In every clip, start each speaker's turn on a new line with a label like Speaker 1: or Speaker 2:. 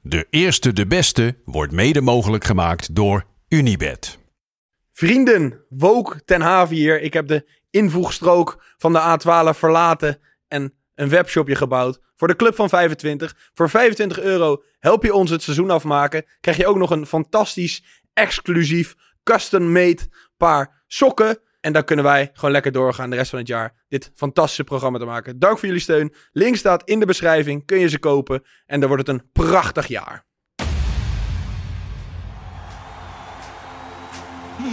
Speaker 1: De eerste, de beste wordt mede mogelijk gemaakt door Unibed.
Speaker 2: Vrienden, Wook ten Haven hier. Ik heb de invoegstrook van de A12 verlaten en een webshopje gebouwd voor de Club van 25. Voor 25 euro help je ons het seizoen afmaken. Krijg je ook nog een fantastisch, exclusief, custom-made paar sokken. En dan kunnen wij gewoon lekker doorgaan de rest van het jaar dit fantastische programma te maken. Dank voor jullie steun. Link staat in de beschrijving. Kun je ze kopen. En dan wordt het een prachtig jaar.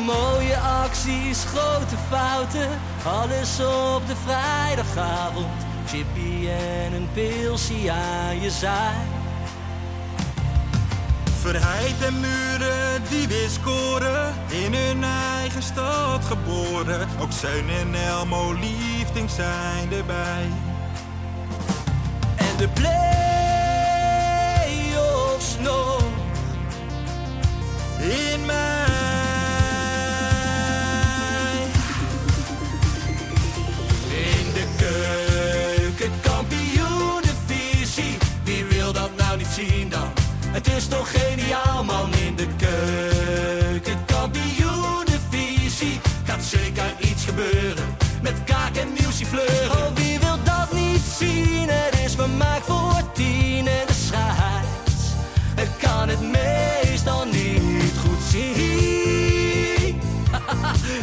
Speaker 3: Mooie acties, grote fouten, alles op de vrijdagavond. Chippy en een pilsie aan je zaai.
Speaker 4: Verheid en muren die weer scoren, in hun eigen stad geboren. Ook Zeun en Elmo liefdings zijn erbij.
Speaker 3: En de play-offs nog.
Speaker 4: In mij.
Speaker 3: In de keuken, kampioen de visie. Wie wil dat nou niet zien dan? Het is toch geniaal man in de keuken, kampioen de visie. Gaat zeker iets gebeuren met kaak en nieuwsie fleuren. Oh, wie wil dat niet zien? Het is vermaakt voor tien en de scheids. Het kan het meestal niet goed zien.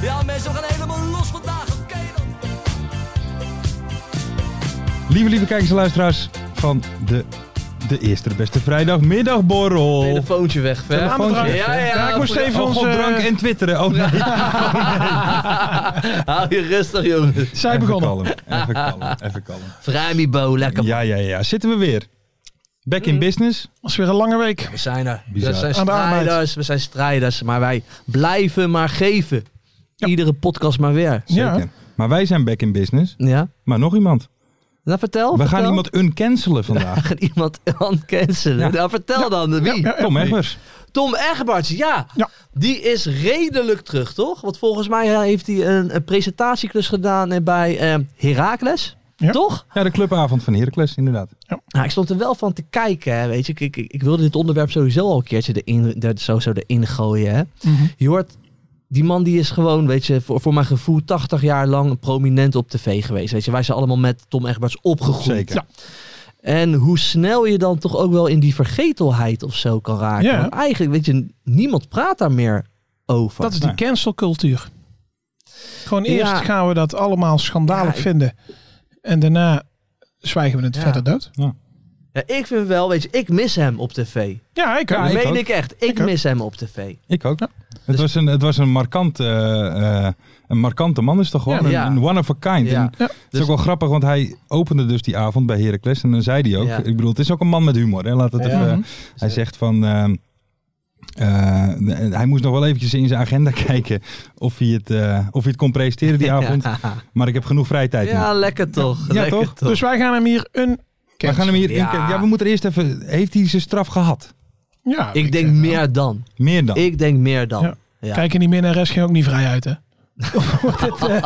Speaker 3: Ja, mensen, we gaan helemaal los vandaag. Oké dan.
Speaker 5: Lieve, lieve kijkers en luisteraars van de, de eerste, de beste vrijdagmiddagborrel.
Speaker 6: Telefoontje weg, hè?
Speaker 5: Telefoontje weg,
Speaker 6: Ja,
Speaker 5: hè?
Speaker 6: ja,
Speaker 5: Ja, ik moest
Speaker 6: goeie-
Speaker 5: even
Speaker 6: oh,
Speaker 5: onze
Speaker 6: god,
Speaker 5: drank en twitteren. Oh nee,
Speaker 6: Hou je rustig, jongen.
Speaker 5: zij begonnen. Even kalm, even kalm, even kalm.
Speaker 6: Vrijmibo, lekker.
Speaker 5: Ja, ja, ja. Zitten we weer. Back
Speaker 6: Mm.
Speaker 5: in business.
Speaker 7: was weer een lange week.
Speaker 6: We zijn er.
Speaker 5: Bizar.
Speaker 6: We zijn
Speaker 7: Aan de
Speaker 6: strijders,
Speaker 7: arbeid.
Speaker 6: we zijn strijders. Maar wij blijven maar geven.
Speaker 7: Ja.
Speaker 6: Iedere podcast maar weer.
Speaker 5: Zeker.
Speaker 7: Ja.
Speaker 5: Maar wij zijn back in business.
Speaker 6: Ja?
Speaker 5: Maar nog iemand.
Speaker 6: Nou, vertel.
Speaker 5: We
Speaker 6: vertel.
Speaker 5: gaan iemand uncancelen vandaag.
Speaker 6: We gaan iemand uncancelen.
Speaker 5: Ja.
Speaker 6: Nou, vertel dan. Wie?
Speaker 7: Ja,
Speaker 5: Kom, Egbers.
Speaker 6: Tom Egberts, ja.
Speaker 7: Ja.
Speaker 6: Die is redelijk terug, toch? Want volgens mij eh, heeft hij een, een presentatieklus gedaan eh, bij eh Heracles.
Speaker 7: Ja.
Speaker 6: Toch?
Speaker 5: Ja, de clubavond van Heracles, inderdaad.
Speaker 6: Nou, ik stond er wel van te kijken, hè, weet je. Ik, ik, ik ik wilde dit onderwerp sowieso al een keertje erin, er, zo, zo erin gooien. Hè.
Speaker 7: Mhm.
Speaker 6: Je hoort, die man die is gewoon, weet je, voor, voor mijn gevoel 80 jaar lang prominent op tv geweest. Weet je, wij zijn allemaal met Tom Egberts opgegroeid.
Speaker 5: Zeker.
Speaker 7: Ja.
Speaker 6: En hoe snel je dan toch ook wel in die vergetelheid of zo kan raken.
Speaker 7: Ja.
Speaker 6: Want eigenlijk, weet je, niemand praat daar meer over.
Speaker 7: Dat is die cancelcultuur. Gewoon eerst
Speaker 6: Ja.
Speaker 7: gaan we dat allemaal schandalig
Speaker 6: Ja, ik-
Speaker 7: vinden. En daarna zwijgen we het
Speaker 6: Ja.
Speaker 7: verder dood.
Speaker 6: Ja, ik vind wel, weet je, ik mis hem op tv.
Speaker 7: Ja, ik,
Speaker 5: Ja,
Speaker 6: dat
Speaker 7: ik-
Speaker 6: meen
Speaker 5: ook.
Speaker 6: ik echt. Ik,
Speaker 7: Ik ook.
Speaker 6: mis hem op tv.
Speaker 5: Ik ook.
Speaker 7: Ja.
Speaker 6: Dus-
Speaker 5: Het, was een, het was een markant, eh, eh, een markante man is toch gewoon
Speaker 6: Ja.
Speaker 5: een,
Speaker 6: Ja.
Speaker 5: een one of a kind.
Speaker 6: Ja. Dus-
Speaker 5: En het is ook wel grappig, want hij opende dus die avond bij Heracles en dan zei hij ook,
Speaker 6: Ja.
Speaker 5: ik bedoel, het is ook een man met humor. Hè? Laat het
Speaker 6: Ja.
Speaker 5: even,
Speaker 7: Mhm.
Speaker 5: Hij zegt van, ehm, eh, hij moest nog wel eventjes in zijn agenda kijken of hij het, eh, of hij het kon presenteren die avond.
Speaker 6: Ja,
Speaker 5: Maar ik heb genoeg vrije tijd nu.
Speaker 6: ja lekker toch.
Speaker 5: Ja,
Speaker 6: lekker
Speaker 5: toch?
Speaker 7: Dus wij gaan hem hier een
Speaker 5: We gaan hem hier
Speaker 6: Ja.
Speaker 5: in- Ja, we moeten eerst even, heeft hij zijn straf gehad?
Speaker 7: Ja,
Speaker 6: Ik denk
Speaker 7: eh,
Speaker 6: meer dan.
Speaker 5: Meer dan.
Speaker 6: Ik denk meer dan. Ja.
Speaker 7: Ja. Kijken die minnares ging ook niet vrij uit, hè? eh,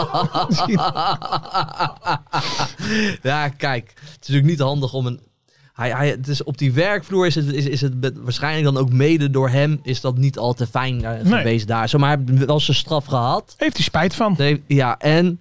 Speaker 6: Ja, kijk. Het is natuurlijk niet handig om een... Hij, hij, het is op die werkvloer is het, is, is het be- waarschijnlijk dan ook mede door hem is dat niet al te fijn eh,
Speaker 7: Nee.
Speaker 6: geweest daar. Zo, maar hij heeft wel zijn straf gehad.
Speaker 7: Heeft hij spijt van.
Speaker 6: Nee, ja, en...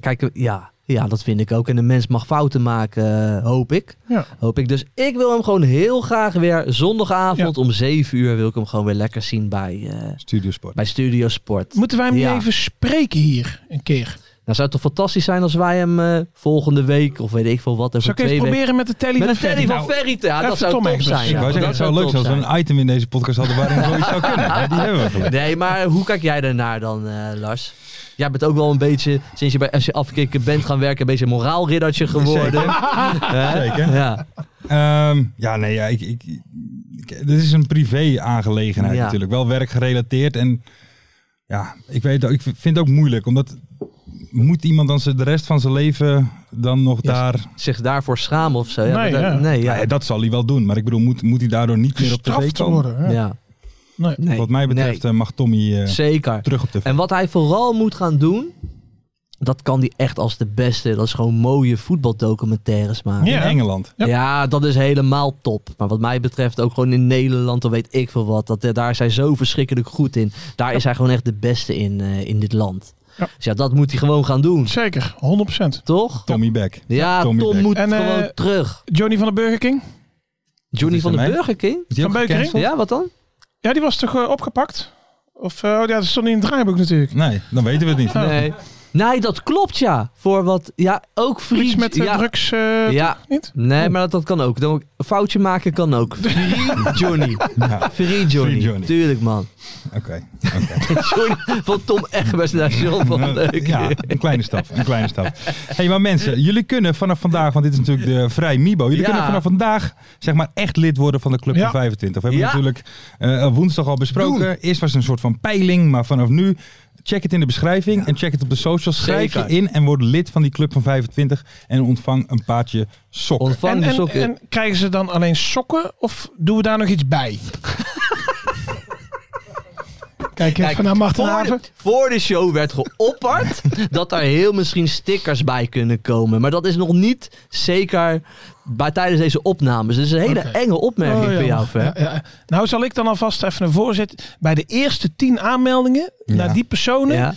Speaker 6: Kijk, ja, ja, dat vind ik ook. En de mens mag fouten maken, eh, hoop ik.
Speaker 7: Ja.
Speaker 6: Hoop ik. Dus ik wil hem gewoon heel graag weer zondagavond om 7 uur wil ik hem gewoon weer lekker zien bij, eh,
Speaker 5: Studiosport.
Speaker 6: bij Studio Sport.
Speaker 7: Moeten wij hem
Speaker 6: Ja.
Speaker 7: niet even spreken hier een keer?
Speaker 6: Nou zou het toch fantastisch zijn als wij hem eh, volgende week of weet ik veel wat over
Speaker 7: Zal ik even
Speaker 6: twee weken...
Speaker 7: proberen met de telly
Speaker 6: Met
Speaker 7: van
Speaker 6: een telly
Speaker 7: Ferry?
Speaker 6: van
Speaker 7: Nou,
Speaker 6: Ferry. te- Ja,
Speaker 7: even
Speaker 6: dat zou
Speaker 7: Tom
Speaker 6: top
Speaker 7: Egbers.
Speaker 6: zijn.
Speaker 5: ik
Speaker 6: ja.
Speaker 5: wou zeggen,
Speaker 6: Dat
Speaker 5: het zou
Speaker 6: top
Speaker 5: leuk zijn als we
Speaker 6: zijn.
Speaker 5: een item in deze podcast hadden waarin zoiets zou kunnen. Maar Die hebben we gelukkig.
Speaker 6: Nee, maar hoe kijk jij daarnaar dan, eh, Lars? Jij bent ook wel een beetje, sinds je bij FC Afkikken bent gaan werken, een beetje een moraalriddertje geworden. Hè?
Speaker 5: Zeker.
Speaker 6: Ja.
Speaker 5: Ehm, ja, nee, ja, ik, ik, ik- dit is een privé aangelegenheid
Speaker 6: Ja.
Speaker 5: natuurlijk. Wel werkgerelateerd. En ja, ik weet ook, ik vind het ook moeilijk. Omdat moet iemand dan ze- de rest van zijn leven dan nog daar... Nou
Speaker 6: Zich daarvoor schamen of zo. Ja,
Speaker 7: Nee,
Speaker 6: maar dat-
Speaker 7: ja.
Speaker 6: nee,
Speaker 5: Ja.
Speaker 6: ja.
Speaker 5: dat zal hij wel doen. Maar ik bedoel, moet, moet hij daardoor niet meer op tv
Speaker 7: Gestraft te
Speaker 5: komen?
Speaker 7: worden. hè?
Speaker 6: Ja.
Speaker 7: Nee.
Speaker 6: Nee.
Speaker 5: Wat mij betreft
Speaker 6: Nee.
Speaker 5: eh, mag Tommy eh,
Speaker 6: Zeker.
Speaker 5: terug op tv.
Speaker 6: En wat hij vooral moet gaan doen, dat kan die echt als de beste. Dat is gewoon mooie voetbaldocumentaires maken.
Speaker 7: Ja.
Speaker 5: In Engeland.
Speaker 7: Ja.
Speaker 6: Ja, dat is helemaal top. Maar wat mij betreft ook gewoon in Nederland, dan weet ik veel wat. Dat, eh, daar is hij zo verschrikkelijk goed in. Daar is hij gewoon echt de beste in, eh, in dit land.
Speaker 7: Ja.
Speaker 6: Dus ja, dat moet hij gewoon gaan doen,
Speaker 7: Zeker, 100%.
Speaker 6: toch?
Speaker 5: Tommy Beck.
Speaker 6: Ja,
Speaker 5: Tommy
Speaker 6: Tom
Speaker 5: Beck.
Speaker 6: moet
Speaker 7: En, eh,
Speaker 6: gewoon terug.
Speaker 7: Johnny van de Burger King?
Speaker 6: Johnny
Speaker 5: is
Speaker 6: van
Speaker 5: aan
Speaker 6: de
Speaker 5: mij?
Speaker 6: Burger King?
Speaker 5: Is die
Speaker 7: Van
Speaker 5: ook
Speaker 7: Beukering?
Speaker 5: gecanceld?
Speaker 6: Ja, wat dan?
Speaker 7: Ja, die was toch eh, opgepakt? Of, eh, oh ja, dat stond niet in het draaiboek natuurlijk.
Speaker 5: Nee, dan weten we het niet.
Speaker 6: Nee. Nee, dat klopt ja. Voor wat, ja, ook
Speaker 7: Iets
Speaker 6: vriend.
Speaker 7: met eh,
Speaker 6: ja.
Speaker 7: drugs, eh,
Speaker 6: Ja,
Speaker 7: niet?
Speaker 6: nee, maar dat, dat kan ook. Dan, een foutje maken kan ook. Free Johnny.
Speaker 5: Ja,
Speaker 6: Free Johnny.
Speaker 5: Johnny.
Speaker 6: Tuurlijk man.
Speaker 5: Oké. oké.
Speaker 6: Johnny van Tom Egbers naar John van Dijk.
Speaker 5: Ja, een kleine stap. Een kleine stap. hey, maar mensen, jullie kunnen vanaf vandaag, want dit is natuurlijk de Vrij Mibo. Jullie
Speaker 6: Ja.
Speaker 5: kunnen vanaf vandaag zeg maar echt lid worden van de Club
Speaker 7: Ja.
Speaker 5: van 25. We hebben
Speaker 6: Ja.
Speaker 5: natuurlijk eh, woensdag al besproken. Eerst was het een soort van peiling, maar vanaf nu check het in de beschrijving en check het op de socials. Schrijf
Speaker 6: Zeker.
Speaker 5: je in en word lid van die Club van 25 en ontvang een paardje sokken.
Speaker 6: Ontvang
Speaker 7: En,
Speaker 6: de
Speaker 7: en,
Speaker 6: sokken.
Speaker 7: en krijgen ze dan alleen sokken of doen we daar nog iets bij? Kijk even
Speaker 6: Kijk,
Speaker 7: naar Marten
Speaker 6: voor, de,
Speaker 7: Haven.
Speaker 6: voor de show werd geopperd dat er heel misschien stickers bij kunnen komen. Maar dat is nog niet zeker bij, tijdens deze opnames. Dus een hele
Speaker 7: Oké.
Speaker 6: enge opmerking
Speaker 7: Oh, ja.
Speaker 6: van jou, Fer.
Speaker 7: Ja, ja. Nou zal ik dan alvast even een voorzet. Bij de eerste tien aanmeldingen naar die personen,
Speaker 6: Ja.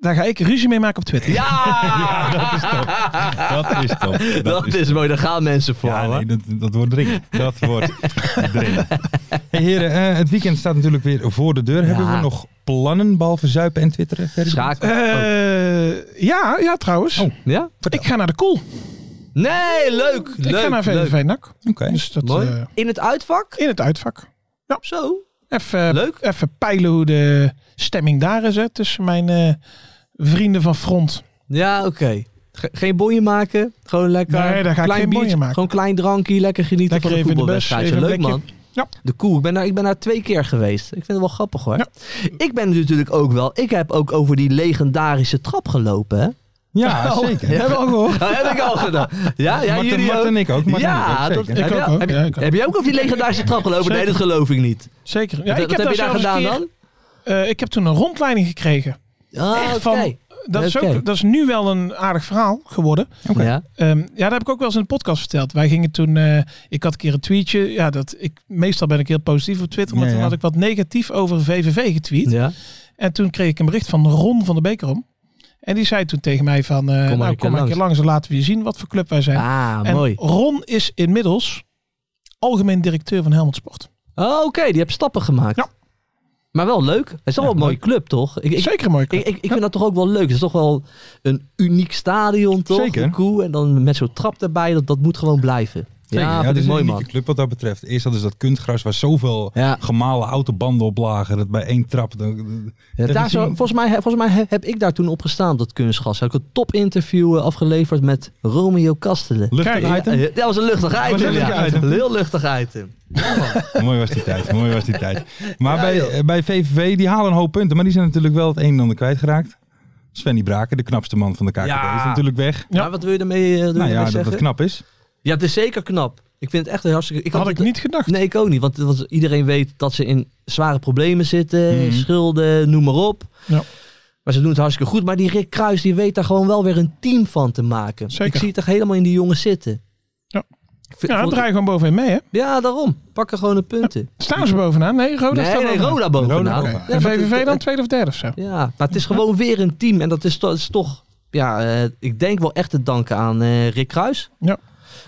Speaker 7: daar ga ik ruzie mee maken op Twitter.
Speaker 6: Ja!
Speaker 5: Dat is top. Dat is top. Dat,
Speaker 6: Dat is mooi, daar gaan mensen voor.
Speaker 5: Ja,
Speaker 6: hoor.
Speaker 5: nee, dat, dat wordt dringend. Dat wordt dringend. Hey, heren, eh, het weekend staat natuurlijk weer voor de deur. Hebben
Speaker 6: Ja.
Speaker 5: we nog plannen, behalve zuipen en twitteren? Ferry?
Speaker 6: Schaken.
Speaker 7: Eh, ja, ja, trouwens.
Speaker 5: Oh.
Speaker 6: Oh. Ja?
Speaker 7: Ik ga naar de koel.
Speaker 6: Nee, leuk!
Speaker 7: Ik ga
Speaker 6: leuk,
Speaker 7: naar
Speaker 6: leuk.
Speaker 7: VVV NAC.
Speaker 5: Oké.
Speaker 7: Dus dat,
Speaker 6: Mooi.
Speaker 7: eh,
Speaker 6: In het uitvak?
Speaker 7: in het uitvak.
Speaker 6: Zo.
Speaker 7: Even,
Speaker 6: Leuk.
Speaker 7: even peilen hoe de stemming daar is hè, tussen mijn eh, vrienden van Front.
Speaker 6: Ja, oké. Ge- Geen bonje maken, gewoon lekker.
Speaker 7: Nee, daar ga ik
Speaker 6: klein
Speaker 7: geen bonje
Speaker 6: biertje,
Speaker 7: maken.
Speaker 6: Gewoon klein drankje, lekker genieten
Speaker 7: Lekker
Speaker 6: van
Speaker 7: even
Speaker 6: de
Speaker 7: in de bus,
Speaker 6: voetbalwedstrijd.
Speaker 7: even
Speaker 6: Leuk
Speaker 7: een
Speaker 6: man.
Speaker 7: plekje. Ja.
Speaker 6: De cool. Ik ben, daar, ik ben daar twee keer geweest. Ik vind het wel grappig hoor.
Speaker 7: Ja.
Speaker 6: Ik ben natuurlijk ook wel. Ik heb ook over die legendarische trap gelopen. Hè?
Speaker 5: Ja,
Speaker 6: Oh,
Speaker 5: zeker.
Speaker 6: ja.
Speaker 7: Hebben we al gehoord?
Speaker 6: Dat heb ik al gedaan. Ja, ja
Speaker 5: Marten,
Speaker 6: jullie
Speaker 5: Marten
Speaker 6: ook.
Speaker 5: en ik ook. Marten en
Speaker 6: Ja,
Speaker 5: ik ook,
Speaker 6: dat,
Speaker 5: zeker.
Speaker 6: heb,
Speaker 7: Ik
Speaker 6: je,
Speaker 7: ook,
Speaker 6: heb,
Speaker 7: ja, ik ook.
Speaker 6: heb jij ook over die legendarische trap gelopen? Nee,
Speaker 7: Zeker.
Speaker 6: dat geloof ik niet.
Speaker 7: Zeker. Ja,
Speaker 6: Wat-
Speaker 7: ik
Speaker 6: wat heb je daar
Speaker 7: zelfs
Speaker 6: gedaan
Speaker 7: een keer-
Speaker 6: dan?
Speaker 7: Eh, ik heb toen een rondleiding gekregen.
Speaker 6: Ah,
Speaker 7: Echt
Speaker 6: oké.
Speaker 7: van- Dat, is
Speaker 6: Oké.
Speaker 7: ook, dat is nu wel een aardig verhaal geworden.
Speaker 5: Oké.
Speaker 6: Ja.
Speaker 7: Ehm, ja, dat heb ik ook wel eens in de podcast verteld. Wij gingen toen, eh, ik had een keer een tweetje. Ja, dat ik, meestal ben ik heel positief op Twitter, maar
Speaker 5: Ja,
Speaker 7: toen
Speaker 5: ja.
Speaker 7: had ik wat negatief over VVV getweet.
Speaker 6: ja.
Speaker 7: En toen kreeg ik een bericht van Ron van de Bekerom. En die zei toen tegen mij van, eh,
Speaker 6: een
Speaker 7: nou
Speaker 6: keer
Speaker 7: kom maar een
Speaker 6: langs.
Speaker 7: keer langs en laten we je zien wat voor club wij zijn.
Speaker 6: Ah,
Speaker 7: en
Speaker 6: mooi.
Speaker 7: Ron is inmiddels algemeen directeur van Helmond Sport.
Speaker 6: Oh, oké. Die heb stappen gemaakt.
Speaker 7: Ja.
Speaker 6: Maar wel leuk. Het is wel een mooie club, toch? Ik, ik,
Speaker 7: Zeker mooi.
Speaker 6: Ik, ik, ik vind dat toch ook wel leuk. Het is toch wel een uniek stadion, toch?
Speaker 5: Zeker.
Speaker 6: Cool. En dan met zo'n trap erbij, dat, dat moet gewoon blijven.
Speaker 5: Zeker.
Speaker 6: ja,
Speaker 5: dat
Speaker 6: vind
Speaker 5: is
Speaker 6: ik
Speaker 5: een
Speaker 6: mooi,
Speaker 5: unieke
Speaker 6: man.
Speaker 5: club wat dat betreft. Eerst hadden ze dat kunstgras waar zoveel
Speaker 6: Ja.
Speaker 5: gemalen autobanden op lagen. Dat bij één trap... dan- eh,
Speaker 6: Ja,
Speaker 5: dat
Speaker 6: daar
Speaker 5: is
Speaker 6: zo,
Speaker 5: een-
Speaker 6: volgens mij, volgens mij he- heb ik daar toen op gestaan, op dat kunstgas. Heb ik een topinterview eh, afgeleverd met Romeo Kastelen.
Speaker 5: Luchtig
Speaker 7: Kijk,
Speaker 5: item.
Speaker 6: Ja, ja, dat was een luchtig item.
Speaker 5: luchtig
Speaker 6: ja.
Speaker 5: item.
Speaker 6: Een heel luchtig item.
Speaker 5: Mooi was die tijd. Mooi was die tijd. Maar bij, eh, bij VVV, die halen een hoop punten. Maar die zijn natuurlijk wel het een en ander kwijtgeraakt. Svenny Braken, de knapste man van de KKD,
Speaker 6: Ja.
Speaker 5: is natuurlijk weg.
Speaker 7: Ja.
Speaker 6: Maar wat wil je daarmee, eh, wil je
Speaker 5: Nou
Speaker 6: daarmee
Speaker 5: ja, dat
Speaker 6: zeggen?
Speaker 5: het knap is.
Speaker 6: Ja, het is zeker knap. Ik vind het echt een hartstikke... Ik
Speaker 7: had, ik
Speaker 6: het-
Speaker 7: niet gedacht.
Speaker 6: Nee, ik ook niet. Want, want iedereen weet dat ze in zware problemen zitten. Schulden, noem maar op.
Speaker 7: Mhm. Ja.
Speaker 6: Maar ze doen het hartstikke goed. Maar die Rick Kruis die weet daar gewoon wel weer een team van te maken.
Speaker 7: Zeker.
Speaker 6: Ik zie het echt helemaal in die jongens zitten.
Speaker 7: Ja.
Speaker 6: Ik vind-
Speaker 7: Ja,
Speaker 6: vond-
Speaker 7: draai gewoon bovenin mee hè.
Speaker 6: ja, daarom. Pakken gewoon de punten.
Speaker 7: Staan ze bovenaan? Nee, Roda
Speaker 6: nee,
Speaker 7: Oh, staat
Speaker 6: nee,
Speaker 7: bovenaan.
Speaker 6: Roda bovenaan.
Speaker 5: Roda
Speaker 7: Oké.
Speaker 5: bovenaan.
Speaker 6: Ja,
Speaker 7: en
Speaker 6: maar het-
Speaker 7: VVV dan tweede of derde of zo?
Speaker 6: Ja, maar het is gewoon weer een team. En dat is, to- is toch, ja, eh, ik denk wel echt te danken aan eh, Rick Kruis.
Speaker 7: Ja.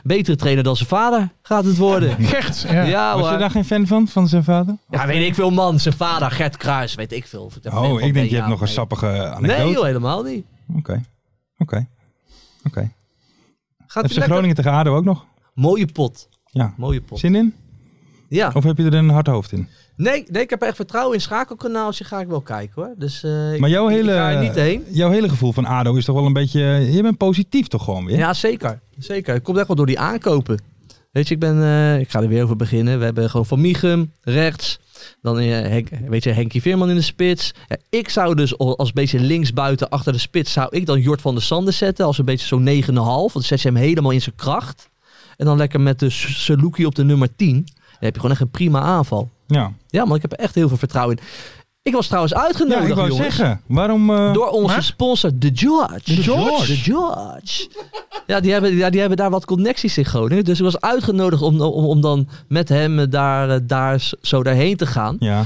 Speaker 6: Betere trainer dan zijn vader gaat het worden.
Speaker 7: Gert, ja.
Speaker 6: ja
Speaker 5: Was je
Speaker 6: hoor.
Speaker 5: daar geen fan van, van zijn vader?
Speaker 6: Ja, weet ik veel, man. Zijn vader, Gert Kruis, weet ik veel. Of ik daar fan
Speaker 5: Oh,
Speaker 6: van
Speaker 5: ik
Speaker 6: ben,
Speaker 5: denk je
Speaker 6: ja,
Speaker 5: hebt nog een
Speaker 6: nee.
Speaker 5: sappige
Speaker 6: Nee,
Speaker 5: anekdote.
Speaker 6: joh, helemaal niet.
Speaker 5: Oké, oké, oké.
Speaker 6: Gaat
Speaker 5: FC
Speaker 6: u lekker?
Speaker 5: Groningen tegen ADO ook nog?
Speaker 6: Mooie pot.
Speaker 5: Ja.
Speaker 6: Mooie pot.
Speaker 5: Zin in?
Speaker 6: Ja.
Speaker 5: Of heb je er een hard hohoofd in?
Speaker 6: Nee, nee, ik heb echt vertrouwen in schakelkanaaltje. Ga ik wel kijken hoor. Dus eh, ik-
Speaker 5: Maar jouw
Speaker 6: ik-
Speaker 5: hele,
Speaker 6: ik ga er niet heen.
Speaker 5: jouw hele gevoel van ADO is toch wel een beetje... eh, Je bent positief toch gewoon weer?
Speaker 6: Ja, zeker. Zeker. Het komt echt wel door die aankopen. Weet je, ik ben... eh, ik ga er weer over beginnen. We hebben gewoon Van Michum, rechts. Dan eh, Henk, weet je, Henkie Veerman in de spits. Ja, ik zou dus al- als beetje linksbuiten achter de spits... zou ik dan Jort van der Sande zetten. Als een beetje zo'n 9,5. Want dan zet je hem helemaal in zijn kracht. En dan lekker met de S- Saluki op de nummer 10. Dan heb je gewoon echt een prima aanval.
Speaker 5: Ja.
Speaker 6: Ja, maar ik heb er echt heel veel vertrouwen in. Ik was trouwens
Speaker 5: Ja,
Speaker 6: uitgenodigd,
Speaker 5: ik wou
Speaker 6: jongens.
Speaker 5: zeggen. Waarom... eh,
Speaker 6: Door onze
Speaker 7: Maar?
Speaker 6: sponsor, The George.
Speaker 7: The George?
Speaker 6: The George. Ja, die hebben, ja, die hebben daar wat connecties in Groningen. Dus ik was uitgenodigd om, om, om dan met hem eh, daar, eh, daar s- zo daarheen te gaan.
Speaker 5: Ja.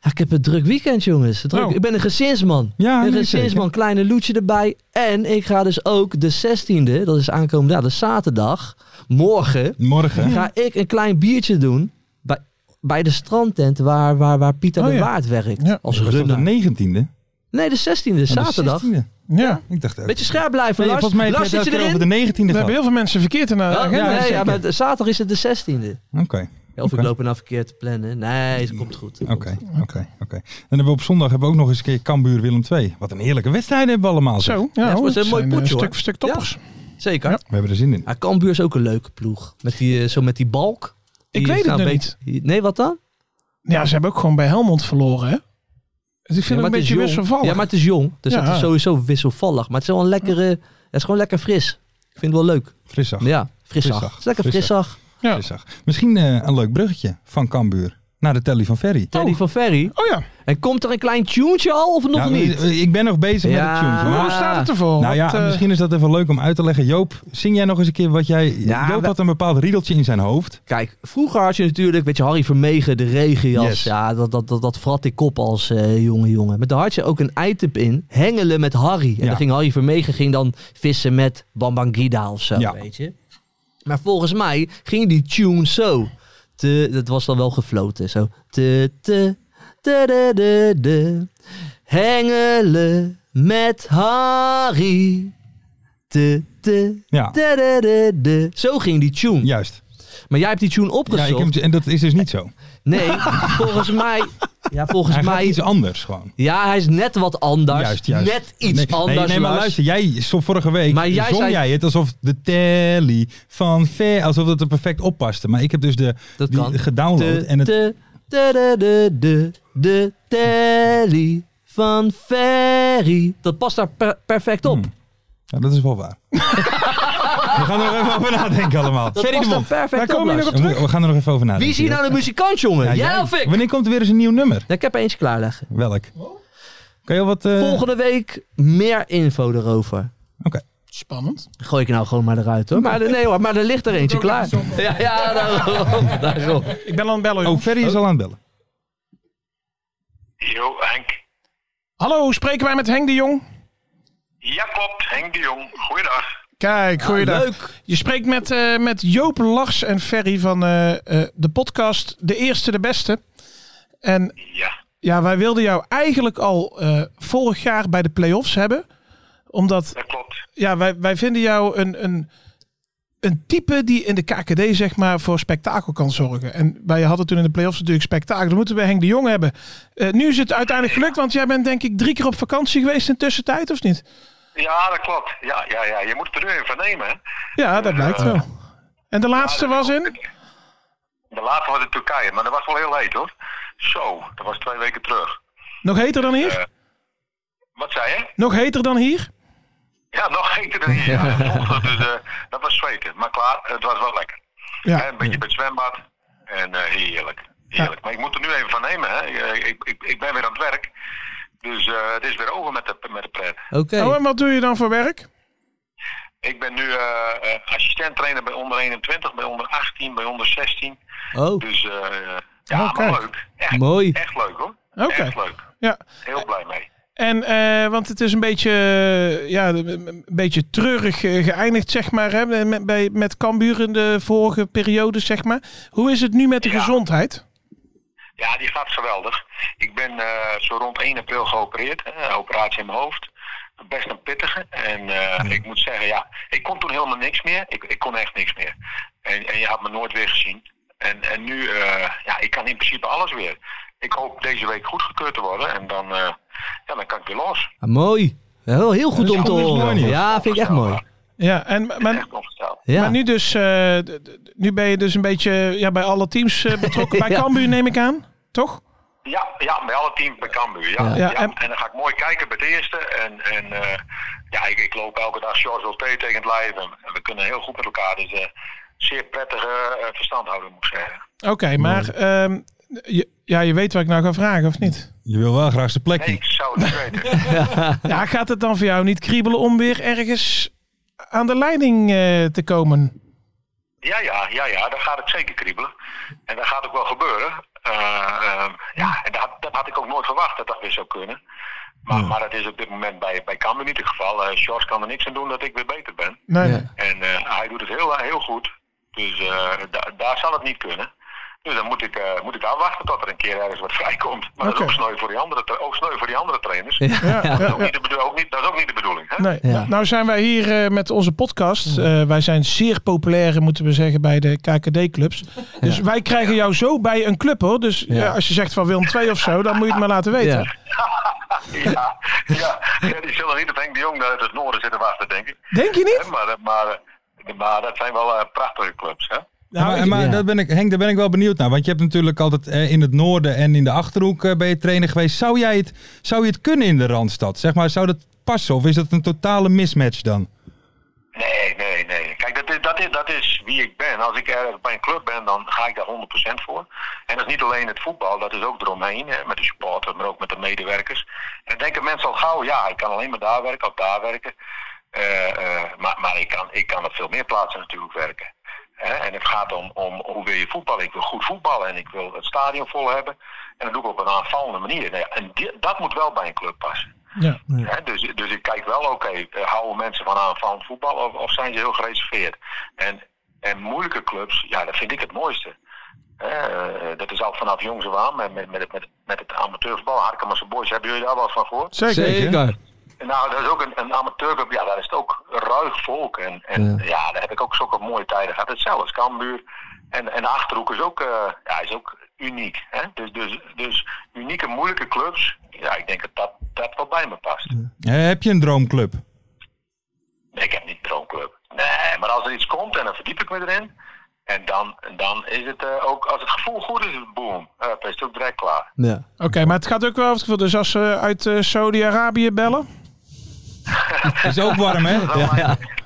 Speaker 6: Ja, ik heb een druk weekend, jongens. Druk.
Speaker 7: Nou.
Speaker 6: Ik ben een gezinsman.
Speaker 5: Ja,
Speaker 7: Ah,
Speaker 6: een
Speaker 5: nee,
Speaker 6: gezinsman, kleine loetje erbij. En ik ga dus ook de 16e, dat is aankomende, ja, dat is zaterdag, morgen,
Speaker 5: Morgen.
Speaker 6: ga ik een klein biertje doen bij, bij de strandtent waar, waar, waar Pieter
Speaker 7: Oh,
Speaker 6: de
Speaker 7: ja.
Speaker 6: Waard werkt.
Speaker 7: Ja. Oh,
Speaker 6: Als
Speaker 5: Was dat
Speaker 6: runner.
Speaker 5: de Oh, 19e?
Speaker 6: Nee, de 16e, zaterdag.
Speaker 7: Ja.
Speaker 5: Ik dacht ook.
Speaker 6: Beetje scherp blijven,
Speaker 5: Nee,
Speaker 6: Lars.
Speaker 5: volgens mij heb
Speaker 6: Lars,
Speaker 5: jij
Speaker 6: zit
Speaker 5: het
Speaker 6: je
Speaker 5: elke keer
Speaker 6: erin?
Speaker 5: over de 19e
Speaker 7: We hebben
Speaker 5: gehad.
Speaker 7: heel veel mensen verkeerd in de
Speaker 6: Oh,
Speaker 7: agenda.
Speaker 6: nee, ja,
Speaker 7: gezet.
Speaker 6: maar de- zaterdag is het de 16e.
Speaker 5: Oké.
Speaker 6: Ja, Of ik
Speaker 5: Oké.
Speaker 6: loop er nou verkeerd te plannen. Nee, het komt goed. Het komt
Speaker 5: Oké, oké, oké. En dan hebben we op zondag hebben we ook nog eens een keer Cambuur Willem II. Wat een heerlijke wedstrijd hebben we allemaal. zeg.
Speaker 7: Zo, ja,
Speaker 6: het
Speaker 7: hoor,
Speaker 6: wordt een
Speaker 7: dat
Speaker 6: mooi
Speaker 7: zijn, eh,
Speaker 6: potje, hoor.
Speaker 7: Stuk voor stuk toppers.
Speaker 6: goed. Zeker.
Speaker 7: Ja.
Speaker 5: We hebben er zin in.
Speaker 6: Ja, Cambuur is ook een leuke ploeg. Met die, eh, zo met die balk. Die
Speaker 7: Ik weet het
Speaker 6: gaan
Speaker 7: nog
Speaker 6: een beetje- Nee, wat dan?
Speaker 7: Ja, ze hebben ook gewoon bij Helmond verloren, hè? Dus ik vind
Speaker 6: Ja, maar
Speaker 7: het een
Speaker 6: is
Speaker 7: beetje
Speaker 6: jong.
Speaker 7: wisselvallig.
Speaker 6: Ja, maar het is jong. Dus
Speaker 7: Ja.
Speaker 6: het is sowieso wisselvallig. Maar het is wel een lekkere... Het is gewoon lekker fris. Ik vind het wel leuk.
Speaker 5: Frissig.
Speaker 6: Ja, frissig.
Speaker 5: Frissig.
Speaker 6: Het is lekker
Speaker 5: Frissig.
Speaker 6: frissig.
Speaker 7: Ja.
Speaker 5: Frissig. Misschien eh, een leuk bruggetje van Cambuur naar de telly van Ferry.
Speaker 6: Teddy van Ferry.
Speaker 7: Oh ja,
Speaker 6: En komt er een klein tuntje al of nog
Speaker 5: Ja,
Speaker 6: niet?
Speaker 5: eh, Ik ben nog bezig
Speaker 6: Ja. oh,
Speaker 5: met het tuntje.
Speaker 7: maar
Speaker 5: maar-
Speaker 7: hoe staat het ervoor?
Speaker 5: Nou ja,
Speaker 7: Want, eh,
Speaker 5: misschien is dat even leuk om uit te leggen. Joop, zing jij nog eens een keer wat jij...
Speaker 6: Ja,
Speaker 5: Joop
Speaker 6: we-
Speaker 5: had een bepaald riedeltje in zijn hoofd.
Speaker 6: Kijk, vroeger had je natuurlijk, weet je, Harry Vermegen, de regenjas.
Speaker 5: Yes.
Speaker 6: Ja, dat, dat, dat, dat vrat ik op als eh, jonge jongen. Maar daar had je ook een item in, hengelen met Harry. En
Speaker 5: Ja.
Speaker 6: dan ging Harry Vermegen ging dan vissen met Bambangida of zo,
Speaker 5: Ja.
Speaker 6: weet je. Maar volgens mij ging die tune zo. Te, dat was dan wel gefloten, zo. Te, te, te, de, de, de. Hengelen met Harry. Te, te,
Speaker 5: Ja,
Speaker 6: te, de, de, de. Zo ging die tune.
Speaker 5: juist.
Speaker 6: Maar jij hebt die tune
Speaker 5: Ja, ik
Speaker 6: opgezocht.
Speaker 5: heb, en dat is dus niet zo.
Speaker 6: Nee, volgens mij. Ja, volgens
Speaker 5: Hij gaat
Speaker 6: mij.
Speaker 5: iets anders gewoon.
Speaker 6: Ja, hij is net wat anders.
Speaker 5: Juist, juist.
Speaker 6: Net iets
Speaker 5: nee, nee,
Speaker 6: anders.
Speaker 5: Nee, maar
Speaker 6: Lars.
Speaker 5: luister, jij zo vorige week
Speaker 6: Maar jij
Speaker 5: zong
Speaker 6: zei-
Speaker 5: jij het alsof de telly van ver, alsof dat er perfect oppaste. Maar ik heb dus de
Speaker 6: Dat
Speaker 5: die
Speaker 6: kan.
Speaker 5: gedownload
Speaker 6: De,
Speaker 5: en het
Speaker 6: de, de, de, de, de, de telly van Ferry. Dat past daar per- perfect op.
Speaker 5: Hmm, ja, dat is wel waar. we gaan er nog even over nadenken allemaal.
Speaker 6: Dat
Speaker 5: Ferry
Speaker 6: past
Speaker 5: de
Speaker 6: daar
Speaker 5: Bond.
Speaker 6: perfect op. Lars.
Speaker 5: We, moeten- we gaan er nog even over nadenken.
Speaker 6: Wie is hier nou de muzikant, jongen?
Speaker 5: Ja,
Speaker 6: jij,
Speaker 5: jij.
Speaker 6: of ik?
Speaker 5: Wanneer komt er weer eens een nieuw nummer?
Speaker 6: Ja, ik heb er eentje klaarleggen.
Speaker 5: Welk? Kan je al wat eh,
Speaker 6: Volgende week meer info erover.
Speaker 7: Spannend.
Speaker 6: Gooi ik nou gewoon maar eruit hoor. Maar, nee hoor, maar er ligt er eentje klaar. Ja, ja, daarom. daarom.
Speaker 7: Ik ben aan het bellen.
Speaker 5: Oh,
Speaker 7: jongens.
Speaker 5: Ferry is al aan het bellen.
Speaker 8: Jo, Henk.
Speaker 7: Hallo, spreken wij met Henk de Jong?
Speaker 8: Ja, klopt. Henk de Jong. Goeiedag.
Speaker 7: Kijk, goeiedag.
Speaker 6: Leuk.
Speaker 7: Je spreekt met, eh, met Joop, Lars en Ferry van eh, eh, de podcast De Eerste de Beste. En
Speaker 8: Ja.
Speaker 7: ja, wij wilden jou eigenlijk al eh, vorig jaar bij de play-offs hebben. Omdat
Speaker 8: Dat klopt.
Speaker 7: ja, wij, wij vinden jou een, een, een type die in de KKD zeg maar voor spektakel kan zorgen. En wij hadden toen in de play-offs natuurlijk spektakel. Dan moeten we Henk de Jong hebben. Eh, nu is het uiteindelijk gelukt, want jij bent denk ik drie keer op vakantie geweest in de tussentijd, of niet?
Speaker 8: Ja, dat klopt. Ja, ja, ja. Je moet het er nu even nemen. hè.
Speaker 7: Ja, dat blijkt wel. En de laatste was in?
Speaker 8: De laatste was in Turkije, maar dat was wel heel heet hoor. Zo, dat was twee weken terug.
Speaker 7: Nog heter dan hier?
Speaker 8: Wat zei je?
Speaker 7: Nog heter dan hier?
Speaker 8: Ja, nog heter dan hier. Ja, dat klopt. dus, eh, dat was zweten. Maar klaar, het was wel lekker. Hè,
Speaker 7: Ja. Oh,
Speaker 8: een beetje bij het zwembad. En eh, heerlijk. Heerlijk. Maar ik moet er nu even van nemen. Hè. Ik, ik, ik, ik ben weer aan het werk. Dus eh, het is weer over met de, met de pret.
Speaker 6: Oké.
Speaker 7: Nou, en wat doe je dan voor werk?
Speaker 8: Ik ben nu eh, eh, assistent trainer bij onder 21, bij onder 18, bij onder 16.
Speaker 6: Oh,
Speaker 8: Dus eh, ja,
Speaker 7: Oh,
Speaker 8: maar
Speaker 7: kijk.
Speaker 8: leuk. Echt,
Speaker 6: mooi.
Speaker 8: echt leuk hoor.
Speaker 7: Oké.
Speaker 8: Echt leuk.
Speaker 7: Ja.
Speaker 8: Heel blij mee.
Speaker 7: En, eh, want het is een beetje, eh, ja, een beetje treurig eh, geëindigd, zeg maar, hè, met, bij, met Cambuur in de vorige periode, zeg maar. Hoe is het nu met de
Speaker 8: Ja.
Speaker 7: gezondheid?
Speaker 8: Ja, die gaat geweldig. Ik ben eh, zo rond 1 april geopereerd. Hè, een operatie in mijn hoofd. Best een pittige. En eh, ik moet zeggen, ja, ik kon toen helemaal niks meer. Ik, ik kon echt niks meer. En, en je had me nooit weer gezien. En, en nu, eh, ja, ik kan in principe alles weer. Ik hoop deze week goedgekeurd te worden. En dan, eh, ja, dan kan ik weer los.
Speaker 6: Ah, mooi. Heel, heel goed om te
Speaker 5: goed, mooi
Speaker 6: horen.
Speaker 5: nieuws.
Speaker 6: Ja, vind ik echt mooi.
Speaker 7: Ja, en, maar,
Speaker 8: Echt ongesteld.
Speaker 6: Ja.
Speaker 7: maar nu dus, eh, d- d- nu ben je dus een beetje ja, bij alle teams eh, betrokken. Bij
Speaker 6: Ja.
Speaker 7: Cambuur neem ik aan, toch?
Speaker 8: Ja, ja, bij alle teams bij Cambuur. Ja.
Speaker 6: Ja.
Speaker 8: Ja.
Speaker 7: Ja, en-
Speaker 8: en... dan ga ik mooi kijken bij de eerste. En, en eh, ja, ik, ik loop elke dag George Olté tegen het lijf. En, en we kunnen heel goed met elkaar. Dus eh, zeer prettige eh, verstandhouding moet ik zeggen.
Speaker 7: Oké, maar ehm, je- ja, je weet wat ik nou ga vragen, of niet?
Speaker 5: Je wil wel graag zijn
Speaker 8: Nee,
Speaker 5: plekje.
Speaker 8: ik zou het niet weten.
Speaker 7: Ja, gaat het dan voor jou niet kriebelen om weer ergens aan de leiding eh, te komen?
Speaker 8: Ja, ja, ja, ja, dan gaat het zeker kriebelen. En dat gaat ook wel gebeuren. Eh, ehm, ja, en dat, had- dat had ik ook nooit verwacht dat dat weer zou kunnen. Maar, maar dat is op dit moment bij, bij Cambuur niet het geval. Eh Sjors kan er niks aan doen dat ik weer beter ben.
Speaker 7: Nee.
Speaker 6: Ja.
Speaker 8: En eh, hij doet het heel, heel goed. Dus eh, da- daar zal het niet kunnen. Dus dan moet ik, eh, moet ik afwachten tot er een keer ergens wat vrijkomt. Maar dat
Speaker 7: Oké.
Speaker 8: is ook sneu voor die andere, tra- ook sneu voor die andere trainers.
Speaker 7: Ja, ja,
Speaker 8: Dat, is ook
Speaker 7: ja.
Speaker 8: niet de bedo- ook niet, dat is ook niet de bedoeling. Hè?
Speaker 7: Nee.
Speaker 6: Ja.
Speaker 7: Nou, Nou zijn wij hier eh, met onze podcast. Eh, wij zijn zeer populair, moeten we zeggen, bij de KKD-clubs. Dus wij krijgen jou zo bij een club, hoor. Dus ja.
Speaker 6: Ja.
Speaker 7: als je zegt van Willem 2 of zo, dan moet je het maar laten weten.
Speaker 6: Ja.
Speaker 8: Ja, ja, ja, die zullen niet op Henk de Jong uit het noorden zitten wachten, denk ik.
Speaker 7: Denk je niet?
Speaker 8: Hè, Maar, eh, maar, eh, maar dat zijn wel eh, prachtige clubs. Hè?
Speaker 5: maar maar
Speaker 6: ja.
Speaker 5: dat ben ik, Henk, daar ben ik wel benieuwd naar. Want je hebt natuurlijk altijd eh, in het noorden en in de achterhoek eh, ben je trainer geweest. Zou, jij het, zou je het kunnen in de Randstad? Zeg maar, zou dat passen? Of is dat een totale mismatch dan?
Speaker 8: Nee, nee, nee. Kijk, dat is, dat, is, dat is wie ik ben. Als ik ergens bij een club ben, dan ga ik daar 100% voor. En dat is niet alleen het voetbal, dat is ook eromheen. Hè, met de supporters, maar ook met de medewerkers. En denken mensen al gauw, ja, ik kan alleen maar daar werken of daar werken. Eh, eh, maar maar ik, kan, ik kan op veel meer plaatsen natuurlijk werken. Hè, en het gaat om, om hoe wil je voetballen. Ik wil goed voetballen en ik wil het stadion vol hebben. En dat doe ik op een aanvallende manier. Nou ja, en di- dat moet wel bij een club passen.
Speaker 7: Ja.
Speaker 8: Hè, dus, dus ik kijk wel, oké, eh, houden mensen van aanvallend voetbal of, of zijn ze heel gereserveerd? En, en moeilijke clubs, ja, dat vind ik het mooiste. Hè, eh, dat is al vanaf jongs af aan met, met, met, met, met het amateurvoetbal. Harkemasse Boys, hebben jullie daar wel eens van gehoord?
Speaker 7: Zeker.
Speaker 6: Zeker.
Speaker 8: Nou, dat is ook een, een amateurclub, ja, daar is het ook ruig volk. En, en ja. daar heb ik ook zulke mooie tijden gehad. Hetzelfde, Cambuur. En, en de Achterhoek is ook, eh, ja, is ook uniek. Hè? Dus, dus, dus unieke, moeilijke clubs, ja, ik denk dat dat, dat wel bij me past.
Speaker 5: Eh, heb je een droomclub?
Speaker 8: Nee, ik heb niet een droomclub. Nee, maar als er iets komt en dan verdiep ik me erin. En dan, dan is het eh, ook, als het gevoel goed is, is het boom. Eh, dan is het ook direct klaar.
Speaker 6: Ja.
Speaker 7: Oké, maar het gaat ook wel over het gevoel. Dus als ze uit eh, Saudi-Arabië bellen?
Speaker 5: Is ook warm, hè?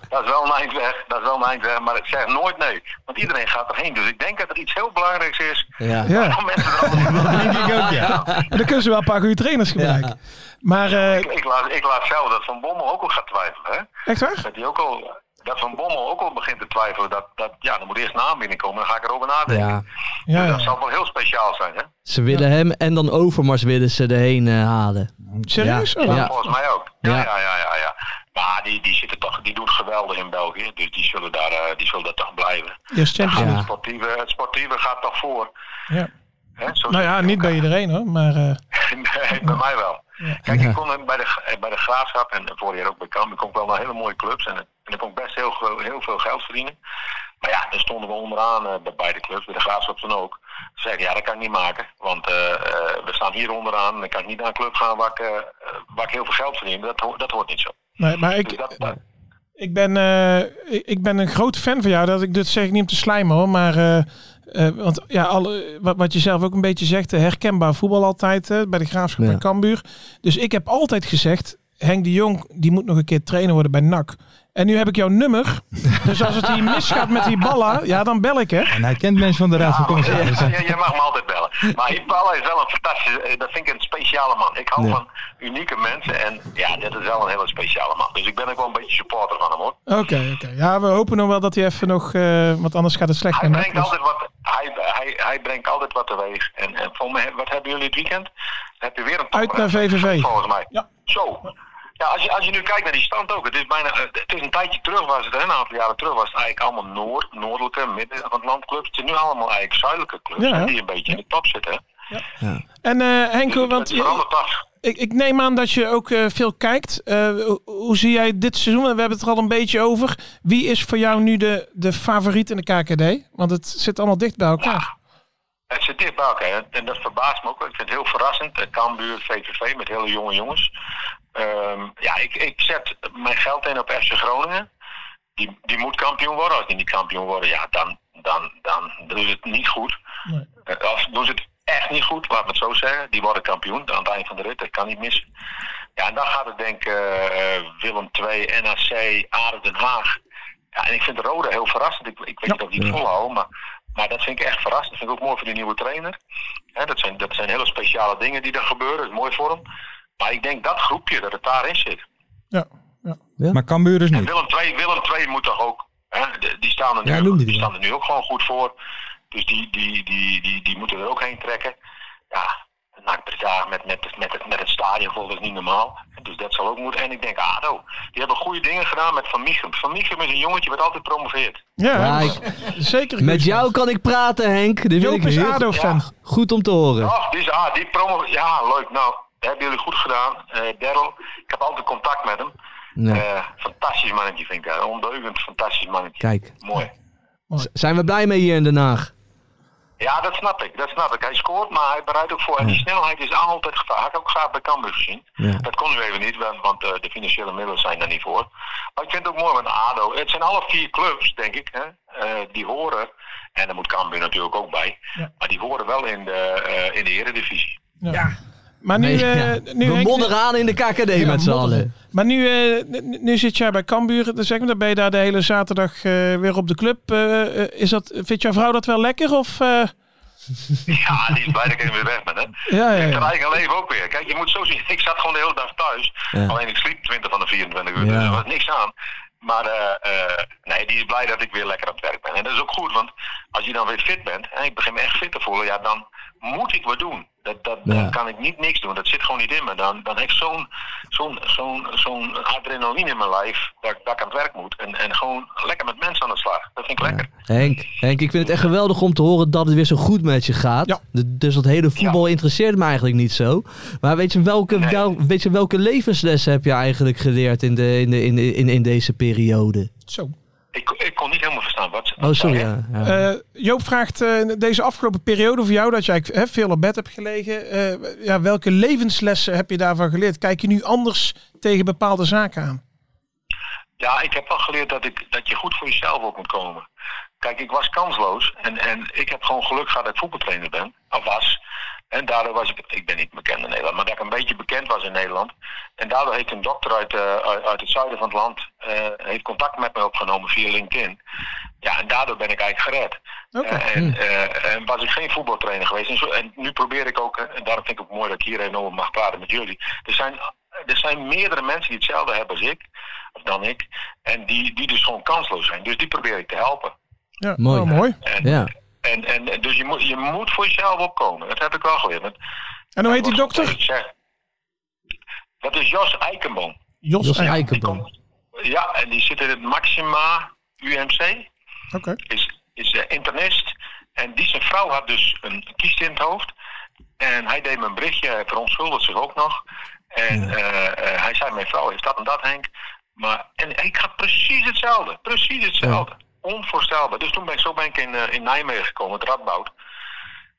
Speaker 8: Dat is wel een eind- Dat is wel een eind weg, dat is wel een eind weg, maar ik zeg nooit nee. Want iedereen gaat erheen. Dus ik denk dat er iets heel belangrijks is.
Speaker 6: Ja.
Speaker 8: waarom mensen er allemaal
Speaker 5: Denk ik ook, ja.
Speaker 7: En dan kunnen ze wel een paar goede trainers gebruiken. Maar eh,
Speaker 8: ik, ik, laat, ik laat zelf dat Van Bommel ook al gaat twijfelen. Hè?
Speaker 7: echt waar?
Speaker 8: Dat, hij ook al, dat Van Bommel ook al begint te twijfelen. Dat, dat, ja, dan moet eerst een aanbieding komen, dan ga ik erover nadenken. Dus
Speaker 6: Ja.
Speaker 7: Ja,
Speaker 8: Dat
Speaker 7: ja.
Speaker 8: zal wel heel speciaal zijn, hè?
Speaker 6: Ze willen hem en dan Overmars willen ze erheen eh, halen.
Speaker 7: Serieus?
Speaker 6: Ja.
Speaker 7: Oh,
Speaker 8: Ja, volgens mij ook. Ja,
Speaker 6: Ja.
Speaker 8: ja, ja, ja. ja. Maar die, die, zitten toch, die doen het geweldig in België. Dus die zullen daar, eh, die zullen daar toch blijven.
Speaker 7: Eerst Champions
Speaker 8: Het,
Speaker 7: League.
Speaker 8: sportieve, het sportieve gaat toch voor.
Speaker 7: Ja.
Speaker 8: Hè? Zo
Speaker 7: Nou
Speaker 8: zit
Speaker 7: ja,
Speaker 8: het in
Speaker 7: niet bij
Speaker 8: elkaar.
Speaker 7: iedereen hoor, maar... eh,
Speaker 8: nee, bij mij wel. Kijk, ik kom bij de, eh, bij de Graafschap en vorig jaar ook bij Kamp. Ik kom wel naar hele mooie clubs en, en ik kon ik best heel, gro- heel veel geld verdienen. Maar ja, dan stonden we onderaan eh, bij beide clubs, bij de Graafschap dan ook. Ze zeiden, ja, dat kan ik niet maken, want eh, eh, we staan hier onderaan. Dan kan ik niet naar een club gaan waar ik, eh, eh, waar ik heel veel geld verdien. Dat, ho- dat hoort niet zo.
Speaker 7: Nee, maar
Speaker 8: Dus
Speaker 7: ik,
Speaker 8: dat, dat-
Speaker 7: ik, ben, eh, ik- ik ben een groot fan van jou. Dat, ik, dat zeg ik niet om te slijmen hoor. Maar eh, eh, want, ja, alle, wat, wat je zelf ook een beetje zegt, eh, herkenbaar voetbal altijd eh, bij de Graafschap
Speaker 6: Ja.
Speaker 7: en Cambuur. Dus ik heb altijd gezegd, Henk de Jong die moet nog een keer trainer worden bij NAC. En nu heb ik jouw nummer. Dus als het hier misgaat met die ballen, ja dan bel ik hè.
Speaker 5: En hij kent mensen van de Raad van
Speaker 8: Ah, Ja,
Speaker 5: Commissarissen.
Speaker 8: ja, jij mag me altijd bellen. Maar Hipala is wel een fantastische, eh, dat vind ik een speciale man. Ik hou van unieke mensen en ja, dit is wel een hele speciale man. Dus ik ben ook wel een beetje supporter van hem hoor.
Speaker 7: Oké, oké. Ja, we hopen nog wel dat hij even nog, eh, want anders gaat het slecht
Speaker 8: Hij
Speaker 7: met NAC.
Speaker 8: brengt
Speaker 7: Dus-
Speaker 8: altijd wat, hij, hij, hij brengt altijd wat teweeg. En, en volgens mij, wat hebben jullie het weekend? Heb je weer een
Speaker 7: Uit naar
Speaker 8: topper, hè?
Speaker 7: VVV.
Speaker 8: Volgens mij.
Speaker 7: Ja.
Speaker 8: Zo. Ja, als je, als je nu kijkt naar die stand ook, het is bijna, eh, het is een tijdje terug was het, hè, een aantal jaren terug was het eigenlijk allemaal noord, noordelijke, midden van het landclubs. Het zijn nu allemaal eigenlijk zuidelijke clubs
Speaker 7: Ja,
Speaker 8: hè,
Speaker 7: hè?
Speaker 8: die een beetje in de top zitten. hè.
Speaker 7: En eh,
Speaker 8: Dus
Speaker 7: Henko,
Speaker 8: het-
Speaker 7: want
Speaker 8: het verandert af.
Speaker 7: Ik, ik neem aan dat je ook eh, veel kijkt. Eh, hoe- hoe zie jij dit seizoen? En We hebben het er al een beetje over. Wie is voor jou nu de, de favoriet in de KKD? Want het zit allemaal dicht bij elkaar.
Speaker 8: Het zit dicht bij elkaar en- en dat verbaast me ook. wel. Ik vind het heel verrassend. Eh, Cambuur, VVV met hele jonge jongens. Ehm, ja, ik, ik zet mijn geld in op FC Groningen. Die, die moet kampioen worden. Als die niet kampioen worden, ja, dan, dan, dan doen ze het niet goed.
Speaker 7: Nee.
Speaker 8: Eh, Of doen ze het echt niet goed, laat me het zo zeggen. Die worden kampioen aan het eind van de rit. Dat kan niet missen. Ja, en dan gaat het denk ik eh, eh, Willem II, NAC, Aden Den Haag. Ja, en ik vind Rode heel verrassend. Ik, ik weet niet of die het volhouden, maar Maar dat vind ik echt verrassend. Dat vind ik ook mooi voor die nieuwe trainer. Hè, dat, zijn, dat zijn hele speciale dingen die er gebeuren. Dat is mooi voor hem. Maar ik denk dat groepje, dat het daarin zit.
Speaker 7: Ja, ja.
Speaker 5: Maar Cambuur dus
Speaker 8: En
Speaker 5: niet.
Speaker 8: Willem II, Willem II moet toch ook... Hè, de- die staan er nu,
Speaker 6: Ja, noemde die
Speaker 8: die
Speaker 6: wel.
Speaker 8: staan er nu ook gewoon goed voor. Dus die, die, die, die, die moeten er ook heen trekken. Ja, nou, NAC Breda met, met, met, het, met het stadion vol, dat is niet normaal. Dus dat zal ook moeten. En ik denk, ADO, die hebben goede dingen gedaan met Van Michem. Van Michem is een jongetje wat altijd promoveert.
Speaker 7: ja,
Speaker 6: Ja,
Speaker 7: dat is zeker. een
Speaker 6: Met
Speaker 7: goede
Speaker 6: jou
Speaker 7: start.
Speaker 6: kan ik praten, Henk. Dit wil
Speaker 7: Joop
Speaker 6: ik
Speaker 7: is
Speaker 6: heel
Speaker 7: ADO-fan.
Speaker 6: goed om te horen.
Speaker 8: Oh, die, is, ah, die promo. Ja, leuk. Nou, dat hebben jullie goed gedaan. Eh Daryl, ik heb altijd contact met hem.
Speaker 6: Ja.
Speaker 8: Eh, fantastisch mannetje vind ik dat. Ondeugend fantastisch mannetje.
Speaker 6: Kijk,
Speaker 8: Mooi.
Speaker 6: z- zijn we blij mee hier in Den Haag?
Speaker 8: Ja, dat snap ik. Dat snap ik. Hij scoort, maar hij bereidt ook voor. En die snelheid is altijd gevaar. Had ik ook graag bij Cambuur gezien.
Speaker 6: Ja.
Speaker 8: Dat kon nu even niet, want want, eh, de financiële middelen zijn daar niet voor. Maar ik vind het ook mooi met ADO. Het zijn alle vier clubs, denk ik, hè, eh, die horen... En daar moet Cambuur natuurlijk ook bij. Maar die horen wel in de, eh, in de eredivisie.
Speaker 7: Maar nu,
Speaker 6: Nee,
Speaker 7: eh,
Speaker 6: ja.
Speaker 7: nu
Speaker 6: we
Speaker 7: Henk-
Speaker 6: modderen aan in de KKD
Speaker 7: Ja,
Speaker 6: met z'n
Speaker 7: modderen.
Speaker 6: allen.
Speaker 7: Maar nu, eh, nu- nu zit jij bij Cambuur. Dan zeg maar, dan ben je daar de hele zaterdag eh, weer op de club. Eh, eh, is dat, vindt jouw vrouw dat wel lekker? Of, eh,
Speaker 8: Ja, die is blij dat ik er weer weg ben, hè.
Speaker 7: ja, ja,
Speaker 8: Ik
Speaker 7: ja.
Speaker 8: draai ik alleen ook weer. Kijk, je moet zo zien. Ik zat gewoon de hele dag thuis.
Speaker 6: Ja.
Speaker 8: Alleen ik sliep 20 van de 24 uur.
Speaker 6: Ja.
Speaker 8: Dus er was niks aan. Maar eh, eh, nee, die is blij dat ik weer lekker aan het werk ben. En dat is ook goed, want als je dan weer fit bent, en ik begin me echt fit te voelen, ja, dan moet ik wat doen. Dat, dat,
Speaker 6: Ja.
Speaker 8: Dan kan ik niet niks doen. Dat zit gewoon niet in me. Dan, dan heb ik zo'n zo'n zo'n zo'n adrenaline in mijn lijf dat, ik- dat ik aan het werk moet. En, en gewoon lekker met mensen aan de slag. Dat vind ik lekker.
Speaker 6: Henk, Henk, ik vind het echt geweldig om te horen dat het weer zo goed met je gaat.
Speaker 7: Ja.
Speaker 6: D- Dus dat hele voetbal interesseert me eigenlijk niet zo. Maar weet je, welke,
Speaker 8: Nee.
Speaker 6: wel- weet je welke levenslessen heb je eigenlijk geleerd in, de, in, de, in, de- in, in deze periode?
Speaker 7: Zo.
Speaker 8: Ik, ik kon niet helemaal verstaan wat ze
Speaker 6: Oh,
Speaker 8: wat ze
Speaker 6: sorry.
Speaker 8: zei, hè?
Speaker 6: Ja, ja.
Speaker 7: Eh, Joop vraagt eh, deze afgelopen periode voor jou, dat jij hè, veel op bed hebt gelegen. eh, ja, welke levenslessen heb je daarvan geleerd? Kijk je nu anders tegen bepaalde zaken aan?
Speaker 8: Ja, ik heb wel geleerd dat, ik, dat je goed voor jezelf op moet komen. Kijk, ik was kansloos en, en ik heb gewoon geluk gehad dat ik voetbaltrainer ben, of was. En daardoor was ik, ik ben niet bekend in Nederland, maar dat ik een beetje bekend was in Nederland. En daardoor heeft een dokter uit, eh, uit, uit het zuiden van het land eh, heeft contact met mij opgenomen via LinkedIn. Ja, en daardoor ben ik eigenlijk gered.
Speaker 7: Oké.
Speaker 8: Eh, en, eh, en was ik geen voetbaltrainer geweest. En, zo, en nu probeer ik ook, eh, en daarom vind ik het mooi dat ik hier even over mag praten met jullie. Er zijn, er zijn meerdere mensen die hetzelfde hebben als ik, of dan ik. En die, die dus gewoon kansloos zijn. Dus die probeer ik te helpen.
Speaker 7: Ja,
Speaker 6: Mooi.
Speaker 7: oh, mooi.
Speaker 8: En,
Speaker 6: ja.
Speaker 8: en, en dus je moet, je moet voor jezelf opkomen. Dat heb ik wel geleerd. Want-
Speaker 7: En hoe heet die dokter?
Speaker 8: Ik zeg, Dat is Jos Eikenboom.
Speaker 7: Jos,
Speaker 6: Jos
Speaker 7: Eiken.
Speaker 6: Eikenboom.
Speaker 8: Ja, en die zit in het Maxima UMC.
Speaker 7: Oké.
Speaker 8: is, is eh, internist. En die zijn vrouw had dus een kiest in het hoofd. En hij deed me een berichtje, hij verontschuldigt zich ook nog. En eh, eh, hij zei, mijn vrouw heeft dat en dat Henk. Maar, en ik had precies hetzelfde, precies hetzelfde. Onvoorstelbaar. Dus toen ben ik, zo ben ik in, eh, in Nijmegen gekomen, het Radboud.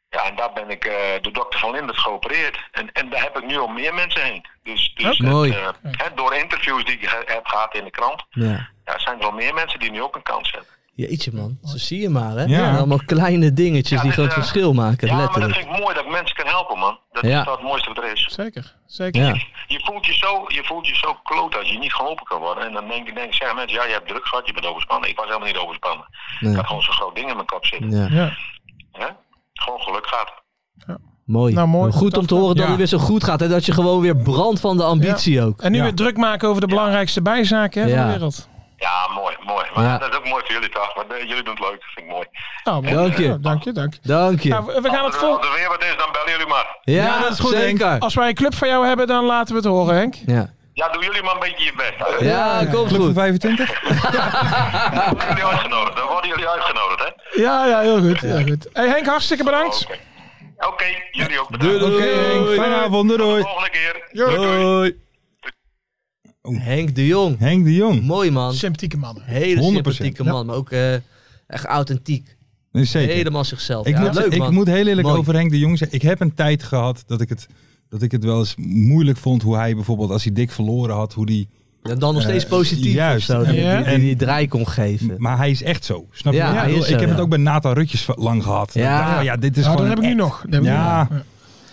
Speaker 8: Ja, en daar ben ik eh, door dokter Van Lindert geopereerd. En, en daar heb ik nu al meer mensen heen. Dus, dus
Speaker 6: Oké. Mooi.
Speaker 8: eh, hè, door interviews die ik ge- heb gehad in de krant,
Speaker 6: ja.
Speaker 8: ja, zijn er al meer mensen die nu ook een kans hebben.
Speaker 6: Jeetje man, zo zie je maar hè.
Speaker 5: Ja.
Speaker 6: Allemaal kleine dingetjes
Speaker 8: Ja,
Speaker 6: die
Speaker 8: dit,
Speaker 6: groot
Speaker 8: eh,
Speaker 6: verschil maken,
Speaker 8: Ja, maar dat
Speaker 6: letterlijk.
Speaker 8: vind ik mooi dat ik mensen kan helpen, man. Dat
Speaker 6: Ja.
Speaker 8: is wel het mooiste wat er is.
Speaker 7: Zeker. Zeker.
Speaker 6: Ja.
Speaker 8: Je voelt je zo, je voelt je zo kloot als je niet geholpen kan worden. En dan denk ik, denk, zeggen mensen, ja, je hebt druk gehad, je bent overspannen. Ik was helemaal niet overspannen.
Speaker 6: Nee.
Speaker 8: Ik had gewoon zo'n groot ding in mijn kop zitten.
Speaker 6: Ja.
Speaker 7: Ja.
Speaker 8: Hè? Gewoon geluk gaat.
Speaker 6: Mooi.
Speaker 7: Nou, mooi.
Speaker 6: Goed om te horen dat
Speaker 5: Ja.
Speaker 6: het weer zo goed gaat. En dat je gewoon weer brandt van de ambitie ook.
Speaker 7: En nu
Speaker 5: Ja.
Speaker 7: weer druk maken over de belangrijkste bijzaken hè, van
Speaker 6: Ja.
Speaker 7: de wereld.
Speaker 8: Ja, mooi, mooi. Maar
Speaker 6: Ja.
Speaker 8: dat is ook mooi voor jullie toch. Maar eh, jullie doen het leuk, dat vind ik mooi.
Speaker 7: Nou, mooi.
Speaker 6: Dank je.
Speaker 7: Ja, dank je, dank je.
Speaker 6: Dank je.
Speaker 7: Nou, we gaan het
Speaker 8: als, er,
Speaker 7: vol.
Speaker 8: als er weer wat is, dan bellen jullie maar.
Speaker 6: ja,
Speaker 5: Ja, dat is goed,
Speaker 6: zeker.
Speaker 7: Als wij een club van jou hebben, dan laten we het horen, Henk.
Speaker 6: Ja,
Speaker 8: Ja, doe jullie maar een beetje je best. hè.
Speaker 6: ja, komt
Speaker 5: Club van
Speaker 6: goed.
Speaker 5: 25?
Speaker 8: Dan worden jullie uitgenodigd. Dan worden jullie uitgenodigd, hè?
Speaker 7: Ja, ja, heel goed. Heel goed. Hey, Henk, hartstikke bedankt.
Speaker 8: Oké, Oké, jullie ook bedankt.
Speaker 5: Oké, Henk, fijne avond. doei,
Speaker 8: Tot de
Speaker 5: Doei.
Speaker 8: volgende keer.
Speaker 5: Doei.
Speaker 6: Henk de Jong.
Speaker 5: Henk de Jong.
Speaker 6: Mooi man.
Speaker 7: Sympathieke mannen.
Speaker 6: Hele
Speaker 5: 100%.
Speaker 6: sympathieke man. Maar ook eh, echt authentiek.
Speaker 5: Nee, Zeker.
Speaker 6: Helemaal zichzelf.
Speaker 5: Ik,
Speaker 6: Ja,
Speaker 5: moet,
Speaker 6: leuk
Speaker 5: ik
Speaker 6: man.
Speaker 5: moet heel eerlijk
Speaker 6: Mooi.
Speaker 5: over Henk de Jong zeggen. Ik heb een tijd gehad dat ik het, dat ik het wel eens moeilijk vond hoe hij bijvoorbeeld als hij dik verloren had, hoe die.
Speaker 6: En dan nog steeds
Speaker 5: Eh,
Speaker 6: positief.
Speaker 5: juist.
Speaker 6: of zo, die,
Speaker 7: Ja.
Speaker 6: die, die, die draai kon geven.
Speaker 5: Maar hij is echt zo. Snap je?
Speaker 6: Ja,
Speaker 5: wat ik
Speaker 6: hij
Speaker 5: bedoel?
Speaker 6: is
Speaker 5: ik
Speaker 6: zo,
Speaker 5: heb het
Speaker 6: ja.
Speaker 5: ook bij Nathan Rutjes v- lang gehad.
Speaker 6: Ja.
Speaker 5: Dat ik dacht, oh ja, dit is
Speaker 7: Nou, dat
Speaker 5: gewoon
Speaker 7: heb ik nu
Speaker 5: echt.
Speaker 7: nog. Dat heb ik
Speaker 5: Ja.
Speaker 7: nu nog.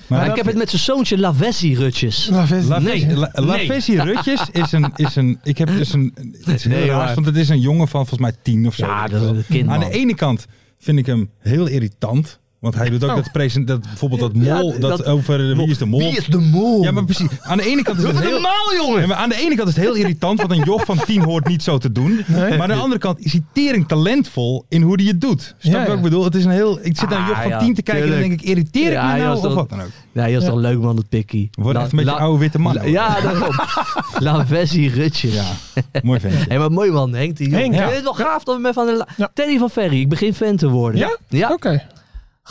Speaker 5: Maar
Speaker 6: ik heb het met zijn zoontje Lavessi Rutjes.
Speaker 5: La
Speaker 6: Nee.
Speaker 5: La- La-
Speaker 6: Nee.
Speaker 5: Lavessi Rutjes is een, is een. Ik heb dus een. Het is heel
Speaker 6: Nee,
Speaker 5: raar,
Speaker 6: maar-
Speaker 5: want het is een jongen van volgens mij tien of zo.
Speaker 6: Ja, dat is een kind,
Speaker 5: Aan
Speaker 6: man.
Speaker 5: de ene kant vind ik hem heel irritant. Want hij doet ook dat present, dat bijvoorbeeld dat mol,
Speaker 6: Oh. Ja,
Speaker 5: dat,
Speaker 6: dat-
Speaker 5: over eh, wie is de mol.
Speaker 6: Wie is de mol?
Speaker 5: Ja, maar precies. Aan de ene kant is
Speaker 6: Doe
Speaker 5: het
Speaker 6: het
Speaker 5: heel...
Speaker 6: normaal, jongen!
Speaker 5: Ja, maar aan de ene kant is het heel irritant, want een joch van 10 hoort niet zo te doen. Maar aan de andere kant is hij tering talentvol in hoe hij het doet. Snap je
Speaker 7: Ja,
Speaker 5: wat
Speaker 7: ja.
Speaker 5: ik bedoel? Het is een heel, ik zit naar een joch
Speaker 6: Ah,
Speaker 5: van
Speaker 6: ja,
Speaker 5: 10 te kijken en dan
Speaker 6: tuurlijk.
Speaker 5: denk ik, irriteer ik
Speaker 6: Ja,
Speaker 5: me
Speaker 6: hij
Speaker 5: nou
Speaker 6: was
Speaker 5: of
Speaker 6: toch-
Speaker 5: wat dan ook?
Speaker 6: Nee, dat is toch leuk man, dat pikkie.
Speaker 5: Wordt
Speaker 6: La-
Speaker 5: echt een beetje
Speaker 6: la-
Speaker 5: oude witte man.
Speaker 6: La- Ja, daarom. Lavezzi Rutjes. Ja.
Speaker 5: Mooi ventje.
Speaker 6: Hé, maar mooi man, Henk de Jong.
Speaker 7: Henk,
Speaker 6: ik
Speaker 7: ja.
Speaker 6: vind het wel gaaf dat we met Van der La-
Speaker 7: Ja.
Speaker 6: Teddy van Ferry, ik begin fan te worden.
Speaker 7: Ja?
Speaker 6: Ja.
Speaker 7: Oké.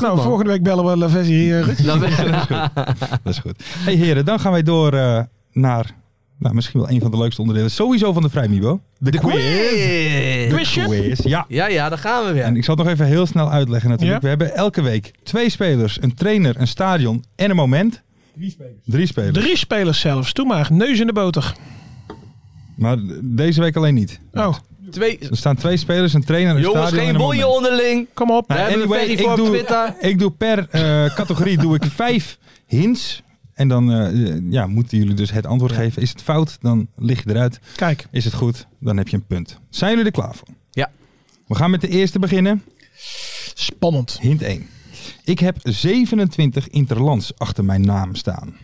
Speaker 7: Nou,
Speaker 6: man.
Speaker 7: volgende week bellen we Lavezzi hier. Ruud.
Speaker 6: Lavezzi-
Speaker 5: Dat is goed. hey, heren, dan gaan wij door eh, naar nou, misschien wel een van de leukste onderdelen. Sowieso van de Vrijmibo. De,
Speaker 6: Quiz.
Speaker 5: De quiz, ja.
Speaker 6: Ja, ja, daar gaan we weer.
Speaker 5: En ik zal het nog even heel snel uitleggen natuurlijk.
Speaker 7: Ja.
Speaker 5: We hebben elke week twee spelers, een trainer, een stadion en een moment. Drie spelers.
Speaker 7: Drie spelers zelfs. Doe maar. Neus in de boter.
Speaker 5: Maar deze week alleen niet.
Speaker 7: Oh,
Speaker 6: Twee,
Speaker 5: Er staan twee spelers, een trainer, een
Speaker 6: jongens,
Speaker 5: stadion en
Speaker 6: geen
Speaker 5: een
Speaker 6: bonje
Speaker 5: moment.
Speaker 6: onderling.
Speaker 7: kom op.
Speaker 6: We hebben
Speaker 5: anyway,
Speaker 6: een Ferry
Speaker 5: ik
Speaker 6: voor op
Speaker 5: doe-
Speaker 6: Twitter.
Speaker 5: Ik doe per eh, categorie doe ik vijf hints. En dan eh, ja, moeten jullie dus het antwoord geven. Is het fout, dan lig je eruit.
Speaker 7: Kijk.
Speaker 5: Is het goed, dan heb je een punt. Zijn jullie er klaar voor?
Speaker 6: Ja.
Speaker 5: We gaan met de eerste beginnen.
Speaker 7: Spannend.
Speaker 5: Hint 1. Ik heb 27 interlands achter mijn naam staan.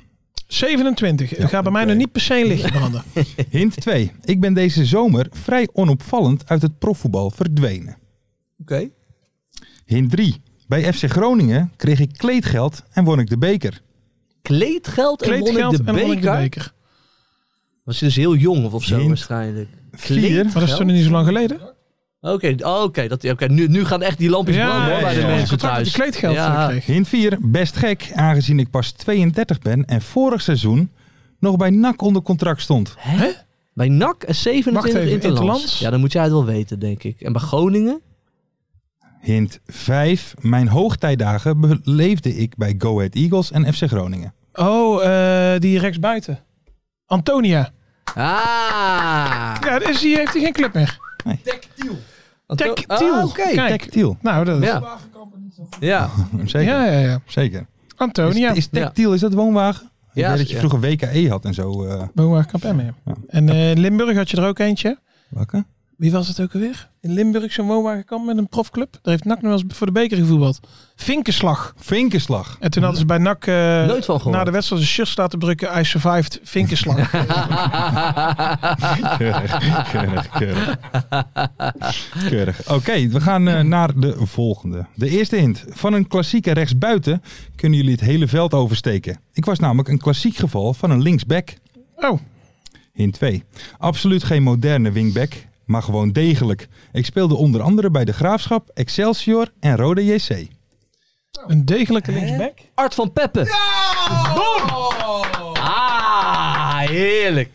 Speaker 7: 27. Het gaat bij mij nog niet per se een lichtje branden.
Speaker 5: Hint 2. Ik ben deze zomer vrij onopvallend uit het profvoetbal verdwenen.
Speaker 6: Oké.
Speaker 5: Hint 3. Bij FC Groningen kreeg ik kleedgeld en won ik de beker.
Speaker 6: Kleedgeld en won
Speaker 7: Kleedgeld
Speaker 6: ik de
Speaker 7: en won ik de
Speaker 6: beker.
Speaker 7: beker.
Speaker 6: Was je dus heel jong of, of zo
Speaker 5: Hint.
Speaker 6: waarschijnlijk.
Speaker 5: Vier.
Speaker 7: Maar dat is
Speaker 6: Geld?
Speaker 7: toen niet zo lang geleden.
Speaker 6: Oké, oké, dat oké, nu, nu gaan echt die lampjes
Speaker 7: Ja,
Speaker 6: branden hoor,
Speaker 5: ja,
Speaker 6: bij de
Speaker 5: ja.
Speaker 6: mensen
Speaker 7: Contract dat
Speaker 6: thuis.
Speaker 7: je kleedgeld
Speaker 6: Ja.
Speaker 7: eh, kreeg.
Speaker 5: Hint 4. Best gek, aangezien ik pas 32 ben en vorig seizoen nog bij NAC onder contract stond.
Speaker 6: Hè? Bij NAC eh, een 27
Speaker 7: Wacht even,
Speaker 6: interlands.
Speaker 7: interlands?
Speaker 6: Ja, dan moet jij het wel weten, denk ik. En bij Groningen?
Speaker 5: Hint 5. Mijn hoogtijdagen beleefde ik bij Go Ahead Eagles en FC Groningen.
Speaker 7: Oh, eh, die rechtsbuiten. Antonia.
Speaker 6: Ah!
Speaker 7: Ja, dus die heeft hij geen club meer.
Speaker 6: Anto-
Speaker 7: Tactiel.
Speaker 6: Ah, oké.
Speaker 7: Kijk.
Speaker 5: Tactiel.
Speaker 7: Nou, dat is... Ja,
Speaker 6: Ja. Ja.
Speaker 5: Zeker.
Speaker 7: ja, ja.
Speaker 5: Zeker.
Speaker 7: Antonia.
Speaker 5: Is, is tactiel, is dat woonwagen? Ik
Speaker 6: Ja,
Speaker 5: weet dat je
Speaker 6: ja.
Speaker 5: vroeger WKE had en zo. eh
Speaker 7: Boa Campem, ja. En eh, in Limburg had je er ook eentje.
Speaker 5: welke?
Speaker 7: Wie was het ook alweer? In Limburg zo'n woonwagenkamp met een profclub. Daar heeft NAC nog wel eens voor de beker gevoetbald. Vinkenslag.
Speaker 5: Vinkenslag.
Speaker 7: En toen hadden ze bij NAC eh,
Speaker 6: Nooit van gehoord.
Speaker 7: na de wedstrijd een shirt laten drukken. I survived Vinkenslag.
Speaker 5: Keurig, keurig, keurig. Keurig. Oké, we gaan eh, naar de volgende. De eerste hint. Van een klassieke rechtsbuiten kunnen jullie het hele veld oversteken. Ik was namelijk een klassiek geval van een linksback.
Speaker 7: oh,
Speaker 5: Hint 2. Absoluut geen moderne wingback, maar gewoon degelijk. Ik speelde onder andere bij de Graafschap, Excelsior en Rode JC.
Speaker 7: een degelijke linksback.
Speaker 6: Art van Peppen. Ah, heerlijk.